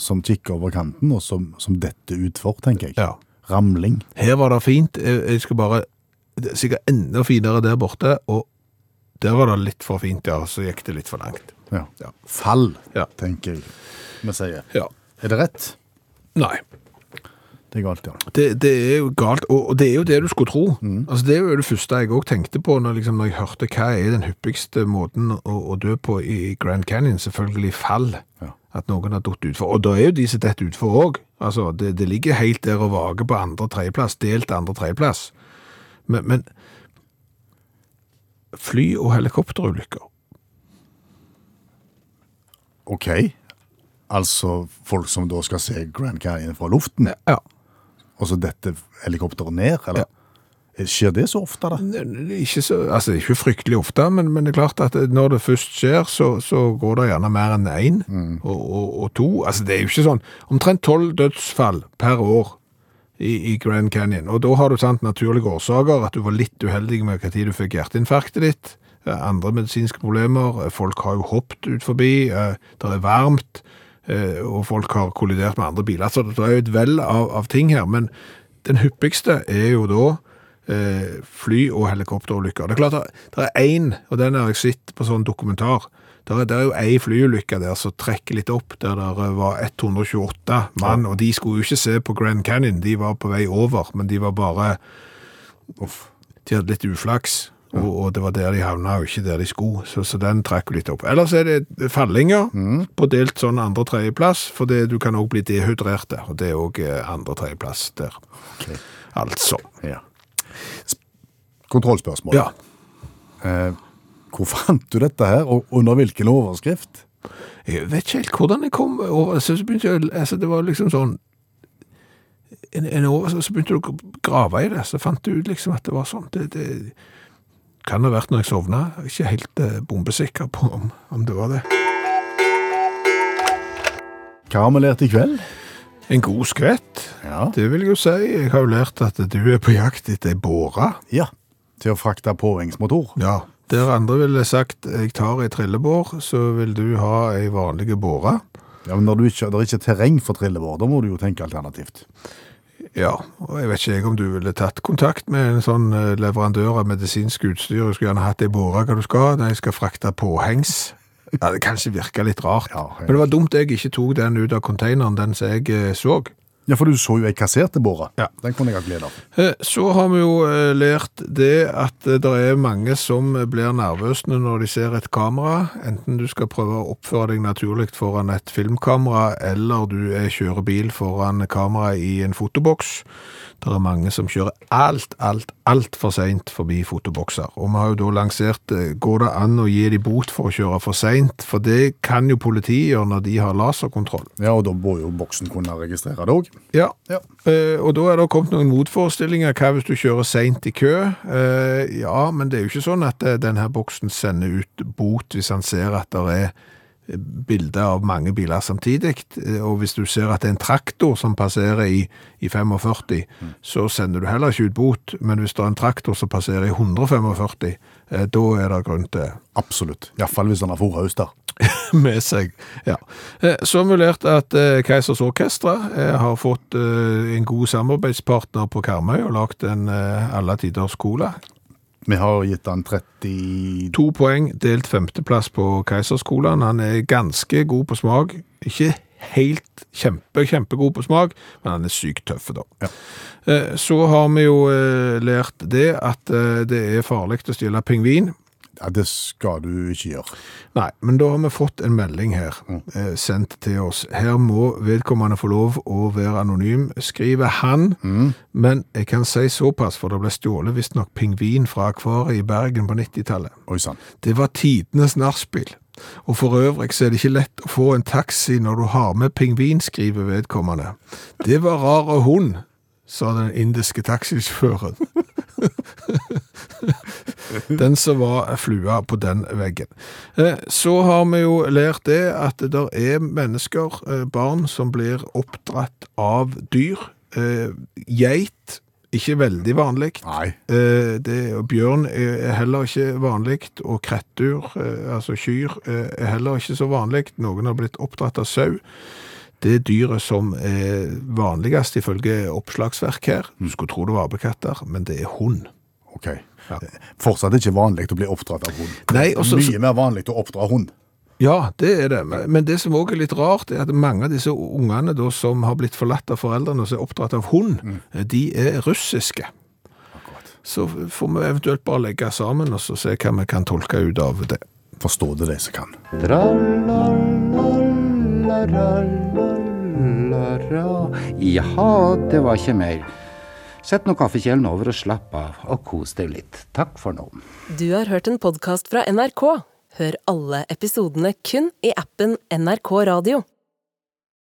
S4: som kikker over kanten, og som, som detter utfor, tenker jeg.
S3: Ja.
S4: Ramling.
S3: Her var det fint, eh, jeg skal bare, det er sikkert enda finere der borte, og der var det litt for fint, ja, så gikk det litt for langt.
S4: Ja.
S3: Ja.
S4: Fall,
S3: Ja.
S4: tenker jeg vi sier.
S3: Ja.
S4: Er det rett?
S3: Nei,
S4: Det er galt, ja.
S3: det, det er jo galt, og og det er jo det du skulle tro. Altså, det er jo det første jeg også tenkte på når, liksom, når jeg hørte hva er den hyppigste måten å, å dø på i Grand Canyon, selvfølgelig fall.
S4: Ja.
S3: At noen har døtt utfor. Og da er jo de som detter utfor òg. Altså, det, det ligger helt der og vager på andre- tredjeplass, delt andre-tredjeplass. Men, men fly- og helikopterulykker
S4: OK. Altså folk som da skal se Grand Canyon fra luften,
S3: Ja.
S4: og så detter helikopteret ned, eller?
S3: Ja.
S4: Skjer det så ofte, da?
S3: N- Ikke så, altså ikke fryktelig ofte, men, men det er klart at når det først skjer, så, så går det gjerne mer enn én og, og, og to. Altså det er jo ikke sånn. Omtrent tolv dødsfall per år i, i Grand Canyon. Og da har du sant naturlige årsaker, at du var litt uheldig med hva tid du fikk hjerteinfarktet ditt, eh, andre medisinske problemer, eh, folk har jo hoppet ut forbi, eh, det er varmt, eh, og folk har kollidert med andre biler. Så det er jo et vell av, av ting her, men den hyppigste er jo da eh, fly- og helikopterulykker. Det er klart, det er én, og den har jeg sett på sånn dokumentar, der er, der er jo ei flyulykke der som trekker litt opp, der det var 128 mann, og de skulle jo ikke se på Grand Canyon, de var på vei over, men de var bare De hadde litt uflaks, og, og det var der de havna, og ikke der de skulle, så, så den trakk litt opp. Ellers er det fallinger på delt sånn andre-tredjeplass, for det, du kan òg bli dehydrerte, og det er eh, òg andre-tredjeplass der. Altså.
S4: Ja. Sp- Kontrollspørsmål.
S3: Ja.
S4: Eh, hvor fant du dette her, og under hvilken overskrift?
S3: Jeg vet ikke helt hvordan jeg kom over så så begynte jeg, altså Det var liksom sånn en, en over, så- Så begynte du å grave i det, så fant du ut liksom at det var sånn. Det, det kan ha vært når jeg sovna. Jeg er Ikke helt eh, bombesikker på om, om det var det.
S4: Hva har vi lært i kveld?
S3: En god skvett,
S4: Ja.
S3: det vil jeg jo si. Jeg har jo lært at du er på jakt etter ei båre.
S4: ja. Til å frakte påhengsmotor.
S3: Ja. Der andre ville sagt 'jeg tar ei trillebår', så vil du ha ei vanlig båre.
S4: Ja, men når du ikke, det er ikke terreng for trillebår, da må du jo tenke alternativt.
S3: Ja, og jeg vet ikke jeg om du ville tatt kontakt med en sånn eh, leverandør av medisinsk utstyr. Du skulle gjerne hatt det i båre hva du skal, når jeg skal frakte påhengs. Ja, det kanskje virka litt rart.
S4: Ja, jeg-
S3: Men det var dumt jeg ikke tok den ut av konteineren, den som jeg eh, så.
S4: Ja, for du så jo jeg kasserte båra. Den kunne jeg ha glede av.
S3: Eh, Så har vi jo eh, lært det at det er mange som eh, blir nervøse når de ser et kamera. Enten du skal prøve å oppføre deg naturlig foran et filmkamera, eller du eh, kjører bil foran kamera i en fotoboks. Det er mange som kjører alt, alt, alt for sent forbi fotobokser. Og vi har jo da lansert, eh, går det an å gi de bot for å kjøre for sent? For det kan jo politiet gjøre når de har laserkontroll.
S4: Ja, og da må jo boksen kunne registrere det òg.
S3: Ja, Eh, og da er det kommet noen motforestillinger. Hva hvis du kjører seint i kø? Eh, ja, men det er jo ikke sånn at eh, denne boksen sender ut bot hvis han ser at det er eh, bilder av mange biler samtidig. Eh, Og hvis du ser at det er en traktor som passerer i, i 45, så sender du heller ikke ut bot. Men hvis det er en traktor som passerer i 145, eh, da er det grunn til
S4: Absolutt. Iallfall hvis han har fòrhaus der.
S3: <laughs> med seg. Ja. Eh, Så har vi lært at eh, Keisers Orkestra eh, har fått eh, en god samarbeidspartner på Karmøy og lagt en eh, alle tiders cola.
S4: Vi har gitt han 30
S3: To poeng, delt femteplass på Keiserskolen. Han er ganske god på smak. Ikke helt kjempe, kjempegod på smak, men han er sykt tøff, da. Eh, Så har vi jo eh, lært det at eh, det er farlig å stjele pingvin.
S4: Ja, det skal du ikke gjøre.
S3: Nei, men da har vi fått en melding her, eh, sendt til oss. Her må vedkommende få lov å være anonym, skriver han. Men jeg kan si såpass, for det ble stjålet visstnok pingvin fra akvariet i Bergen på 90-tallet.
S4: Oi sann.
S3: Det var tidenes nachspiel. Og for øvrig så er det ikke lett å få en taxi når du har med pingvin, skriver vedkommende. Det var rare hund, sa den indiske taxisjåføren. <laughs> den som var flua på den veggen. Eh, Så har vi jo lært det at det er mennesker, eh, barn, som blir oppdratt av dyr. Eh, Geit, ikke veldig vanlig.
S4: Nei.
S3: Eh, det, og bjørn eh, er heller ikke vanlig, og krettur, eh, altså kyr, eh, er heller ikke så vanlig. Noen har blitt oppdratt av sau. Det er dyret som er vanligst ifølge oppslagsverk her. Du skulle tro det var apekatter, men det er hund.
S4: OK. Eh, Fortsatt ikke vanlig å bli oppdratt av hund.
S3: Nei, og så-
S4: Mye mer vanlig å oppdra hund.
S3: Ja, det er det. Men- Men det som òg er litt rart, er at mange av disse ungene da, som har blitt forlatt av foreldrene og som er oppdratt av hund, eh, de er russiske. Så får vi eventuelt bare legge sammen og så se hva vi kan tolke ut av det.
S4: Forstå det, de som kan.
S2: Tra-la-la-la-la-la. Jaha, det var ikke mer. Sett nå kaffekjelen over og slapp av, og kos deg litt. Takk for nå.
S1: Du har hørt en podkast fra NRK. Hør alle episodene kun i appen NRK Radio.